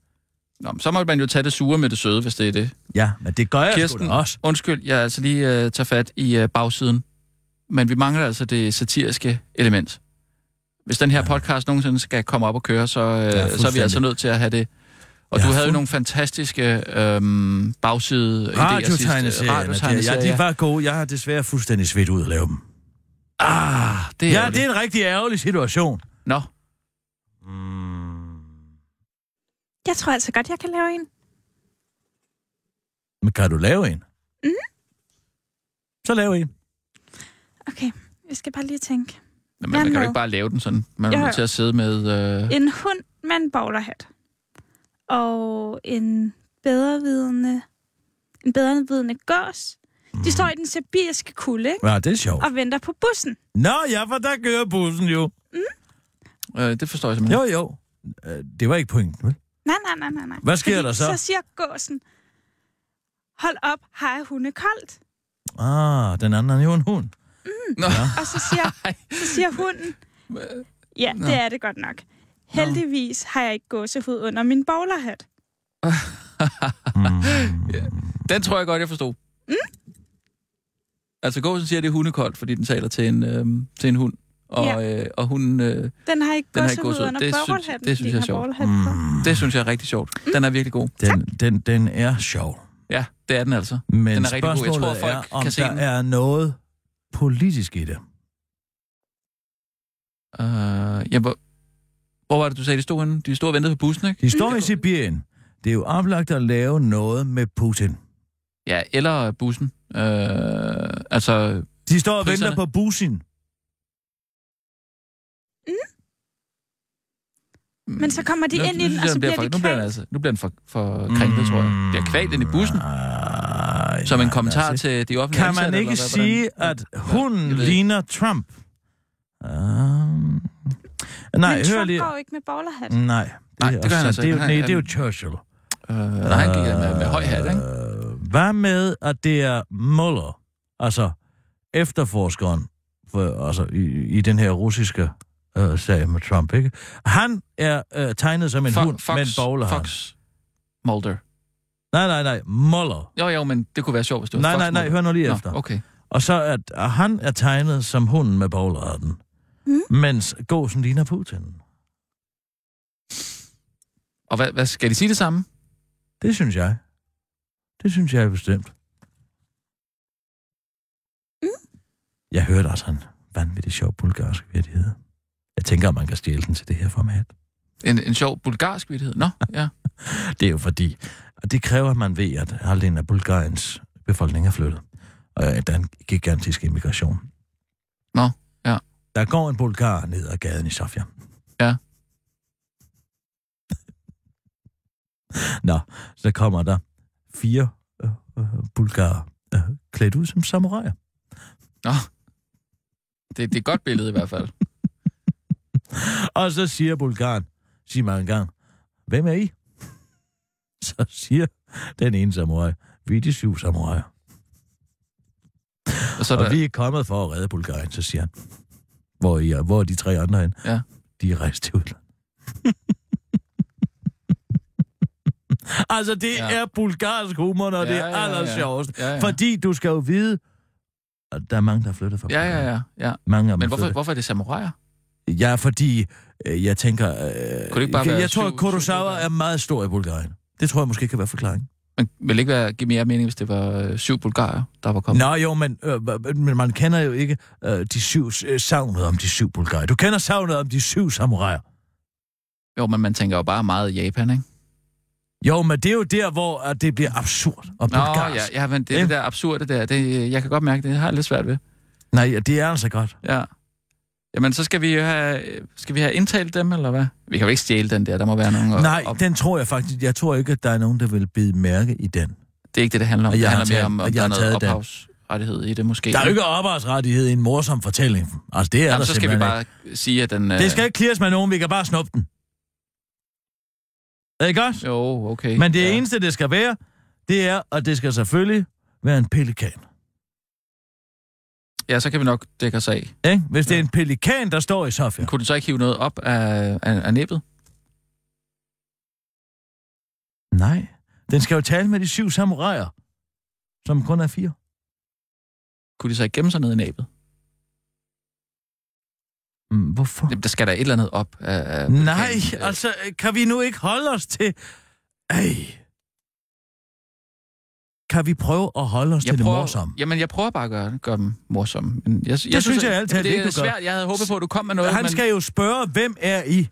F: Nå, men så må man jo tage det sure med det søde, hvis det er det.
E: Ja, men det gør jeg Kirsten.
F: Kirsten,
E: sgu da også.
F: undskyld, jeg altså lige øh, tager fat i øh, bagsiden. Men vi mangler altså det satiriske element. Hvis den her podcast nogensinde skal komme op og køre, så, øh,
E: Ja,
F: så er vi altså
E: fuldstændig.
F: nødt til at have det. Og
E: Ja,
F: du havde
E: fuld-
F: jo nogle fantastiske øhm, bagside
E: Radiotegneserierne,
F: radiotegneserier.
E: de- ja, de var gode. Jeg har desværre fuldstændig svedt ud at lave dem.
F: Ah, det er
E: Ja, det er en rigtig ærgerlig situation. Mm.
F: Nå,
G: Jeg tror altså godt, jeg kan lave en.
E: Men kan du lave en? Mm. Så lav en.
G: Okay, jeg skal bare lige tænke.
F: Nå, men man kan jo
G: Jamen.
F: ikke bare lave den sådan. Man er
G: Jo,
F: nødt
G: jo.
F: til at sidde med... Øh,
G: En hund med en bowlerhat. Og en bedrevidende, en bedrevidende gås. De står i den sibiriske kulde, ikke?
E: Ja, det er sjovt.
G: Og venter på bussen.
E: Nå ja, for der kører bussen jo.
F: øh, det forstår jeg simpelthen.
E: Jo, jo. Øh, Det var ikke pointen, vel?
G: Nej, nej, nej, nej, nej.
E: Hvad sker der så?
G: Så siger gåsen, hold op, har jeg hunde koldt?
E: Ah, den anden er jo en hund.
G: Og så siger, så siger hunden, ja, det er det godt nok. Heldigvis har jeg ikke gåsehud under min bowlerhat.
E: Mm.
F: Den tror jeg godt, jeg forstod. Mm. Altså, gåsen siger, at det er hundekoldt, fordi den taler til en, øh, til en hund. Og, ja. øh, og hunden, øh,
G: Den har ikke
F: Den har ikke
G: gåsehud
F: gåsehud.
G: under
F: Det synes-
G: bowlerhatten.
F: det synes
G: fordi
F: jeg er
G: den har
F: sjovt. Mm.
G: bowlerhat på.
F: det synes jeg er rigtig sjovt. Mm. Den er virkelig god.
E: Mm. Den, den, den er sjov.
F: Ja, det er den altså.
E: Men
F: den er rigtig god. Jeg
E: spørgsmålet
F: tror, folk
E: er, om
F: kan se
E: der
F: den.
E: er noget politisk i det.
F: Øh, ja, hvor, Hvor var det, du sagde, de stod henne? De stod og ventede på bussen, ikke?
E: De står i Sibirien. Det er jo oplagt at lave noget med Putin.
F: Ja, eller bussen. Øh, altså,
E: De står og
F: Priserne.
E: venter på Putin.
G: Men så kommer de
F: nu-
G: ind
F: nu
G: i den,
F: synes
G: og
F: jeg,
G: så
F: den
G: bliver
F: for,
G: de
F: nu bliver den
G: kvalt.
F: altså, nu bliver den for, for krænket, tror
E: Mm.
F: jeg. Bliver kvalt ind i bussen,
E: Ej,
F: som en
E: nej,
F: kommentar
E: altså.
F: til de offentlige
E: Kan man
F: ansatte,
E: ikke
F: eller hvad-
E: sige,
F: hvordan-
E: at hunden
F: jeg ved ikke.
E: ligner Trump? Um, nej,
G: Men
E: hør
G: Trump
E: lige.
G: går ikke med bowlerhat.
F: Mm.
E: Nej,
F: Nej,
E: det,
F: det
E: er
F: gør
E: også-
F: han altså
E: det, er jo-
F: ikke. Han-
E: nej, det er jo
F: han-
E: Churchill.
F: Øh, nej, han gik med, med høj hat, ikke?
E: Øh, Hvad med, at det er Mueller, altså efterforskeren for, altså, i, i den her russiske øh, sag med Trump, ikke? Han er øh, tegnet som en
F: Fo-
E: hund, men bowler han.
F: Fox Mulder.
E: Nej, nej, nej, Mueller.
F: Jo, jo, men det kunne være sjovt, hvis det var
E: Nej,
F: Fox
E: nej, nej,
F: Mulder.
E: hør nu lige
F: Nå,
E: efter.
F: okay.
E: Og så at, at han er tegnet som hunden med bowlerarten, mm. mens gåsen ligner Putin.
F: Og hvad, hvad, skal de sige det samme?
E: Det synes jeg. Det synes jeg bestemt. Mm. Jeg hørte også en vanvittig sjov bulgarsk virkelighed. Jeg tænker, om man kan stjæle den til det her format.
F: En, en sjov bulgarsk vittighed? Nå, ja.
E: Det er jo fordi, og det kræver, at man ved, at halvdelen af Bulgariens befolkning er flyttet. Og at der er en gigantisk immigration.
F: Nå, ja.
E: Der går en bulgar ned ad gaden i Sofia.
F: Ja.
E: Nå, så kommer der fire øh, øh, bulgarer øh, klædt ud som samuraier.
F: Nå. Det, det er et godt billede i hvert fald.
E: Og så siger bulgaren, sig mig en gang, hvem er I? Så siger den ene samurai, vi er de syv samuraier.
F: Og så er
E: Og
F: der,
E: vi er kommet for at redde Bulgarien, så siger han. Hvor, I er, hvor er de tre andre hen?
F: Ja.
E: De er rejst til udlandet. altså, det
F: Ja.
E: ja. er bulgarsk humor, når ja, det
F: Ja,
E: er
F: ja, ja.
E: allersjovest.
F: Ja, ja.
E: Fordi du skal jo vide, at der er mange, der er flyttet fra
F: ja, ja,
E: Bulgarien.
F: ja, ja.
E: Mange af dem
F: Men
E: er
F: hvorfor,
E: flyttet.
F: hvorfor er det samuraier?
E: Ja, fordi øh, jeg tænker... Øh,
F: det ikke bare
E: jeg,
F: være
E: jeg tror,
F: syv-
E: at
F: syv
E: Kurosawa
F: bulgarere?
E: er meget stor i Bulgarien. Det tror jeg måske kan være forklaringen.
F: Man ville ikke være, give mere mening, hvis det var øh, syv bulgarer, der var kommet.
E: Nå jo, men, øh, hva- men man kender jo ikke øh, de syv øh, savnet om de syv bulgarer. Du kender savnet om de syv samuraier.
F: Jo, men man tænker jo bare meget Japan, ikke?
E: Jo, men det er jo der, hvor at det bliver absurd og
F: Nå,
E: bulgarsk.
F: ja, ja, men det, det der absurde der, det, jeg kan godt mærke, det har jeg lidt svært ved.
E: Nej, ja, det er altså godt.
F: Ja. Jamen, så skal vi jo have, skal vi have indtalt dem, eller hvad? Vi kan jo ikke stjæle den der, der må være nogen.
E: Og, Nej,
F: og,
E: og... den tror jeg faktisk. Jeg tror ikke, at der er nogen, der vil bide mærke i den.
F: det er ikke det, det handler om.
E: Og
F: Det
E: jeg har
F: handler mere
E: taget-
F: om, om
E: og jeg
F: der er
E: har
F: noget
E: taget den.
F: ophavsrettighed i det, måske.
E: Der er jo ikke ophavsrettighed i en morsom fortælling. Altså, det er
F: Jamen,
E: der
F: så skal vi
E: simpelthen
F: bare sige, at den... øh,
E: Ikke. Det skal ikke clears med nogen, vi kan bare snuppe den. Er det godt?
F: Jo, okay.
E: Men det
F: ja.
E: eneste, det skal være, det er, at det skal selvfølgelig være en pelikan.
F: Ja, så kan vi nok dække os af.
E: Ikke? Hvis det er en pelikan, der står i Sofia.
F: Men Kunne den så ikke hive noget op af, af, af næbbet?
E: Nej. Den skal jo tale med de syv samuraier, som kun er fire.
F: Kunne de så ikke gemme sig ned i næbbet?
E: Mm, Hvorfor?
F: Jamen, der skal der et eller andet op af... af
E: Nej,
F: vulkanen.
E: altså, øh, kan vi nu ikke holde os til... Ej. Kan vi prøve at holde os jeg til prøver... det morsomme?
F: Jamen, jeg prøver bare at gøre, gøre dem morsomme. Men jeg, jeg
E: synes jeg ærligt talt
F: det
E: ikke,
F: er
E: du gør.
F: svært. Jeg havde håbet på, at du kom med noget.
E: Han
F: men...
E: skal jo spørge, hvem er I?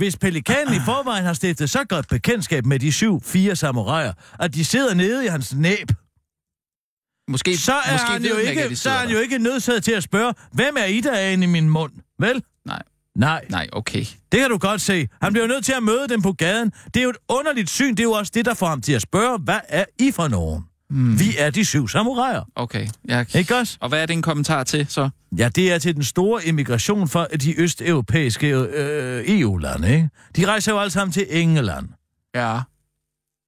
E: Hvis pelikanen i forvejen har stiftet så godt bekendtskab med de syv, fire samuraier, at de sidder nede i hans næb,
F: Måske,
E: så er,
F: måske
E: han,
F: ved
E: jo
F: den at
E: ikke,
F: de
E: så er han
F: sidder
E: jo ikke nødsaget til at spørge, hvem er I, der er inde i min mund? Vel?
F: Nej.
E: Nej,
F: der. Nej, okay.
E: det kan du godt se. Han bliver nødt til at møde dem på gaden. Det er jo et underligt syn. Det er jo også det, der får ham til at spørge, hvad er I for nogen?
F: Mm,
E: Vi er de syv samuraier,
F: okay. Jeg...
E: ikke også?
F: Og hvad er det en kommentar til, så?
E: Ja, det er til den store immigration fra de østeuropæiske øh, EU-lande, ikke? De rejser jo alle sammen til England
F: Ja.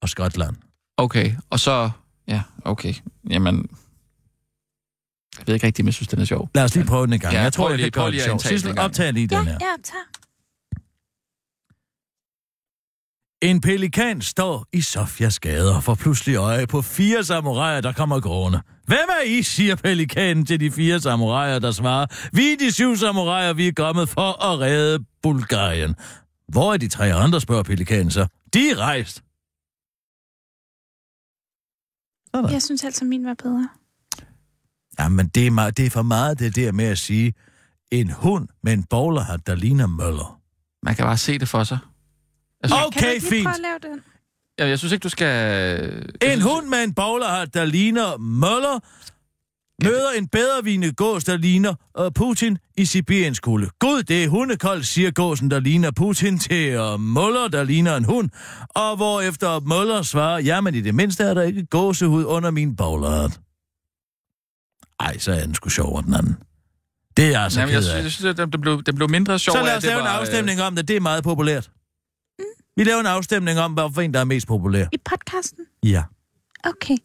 E: og Skotland.
F: Okay, og så... Ja, okay. Jamen... Jeg ved ikke rigtigt, men jeg synes, den er sjov.
E: Lad os lige prøve den en gang.
F: Ja,
E: jeg tror,
F: prøv
E: jeg
F: lige-
E: kan
F: prøv
E: gøre
F: lige
E: det
F: at
E: sjovt.
F: indtale den
E: Sissel,
F: en gang.
E: optag lige
G: Ja,
E: den her.
G: ja, tager.
E: En pelikan står i Sofias gader og får pludselig øje på fire samuraier, der kommer gående. Hvem er I, siger pelikanen til de fire samuraier, der svarer. Vi er de syv samuraier, vi er kommet for at redde Bulgarien. Hvor er de tre andre, spørger pelikanen så. De er rejst. Sådan.
G: Jeg synes altså, min var bedre.
E: Jamen, det er, meget, det er for meget det der med at sige, en hund med en bowlerhat, der ligner møller.
F: Man kan bare se det for sig. Jeg synes,
G: Kan du
E: Okay,
G: ikke lige
E: fint.
G: prøve at lave den?
F: jeg, jeg synes ikke, du skal...
E: En hund med en bowlerhat, der ligner Møller, møder en bedrevigende gås, der ligner øh, Putin i Sibiriens kulde. Gud, det er hundekold, siger gåsen, der ligner Putin til øh, Møller, der ligner en hund. Og hvorefter Møller svarer, jamen i det mindste er der ikke gåsehud under min bowlerhat. Ej, så er den sgu sjovere den anden. Det er jeg så
F: Jamen, jeg
E: ked af.
F: synes, at den blev, den blev mindre sjov.
E: Så
F: af,
E: lad
F: at
E: os
F: det
E: lave en
F: var, øh,
E: afstemning om det. Det er meget populært. Vi laver en afstemning om, hvorfor en, der er mest populær.
G: I podcasten?
E: Ja.
G: Okay.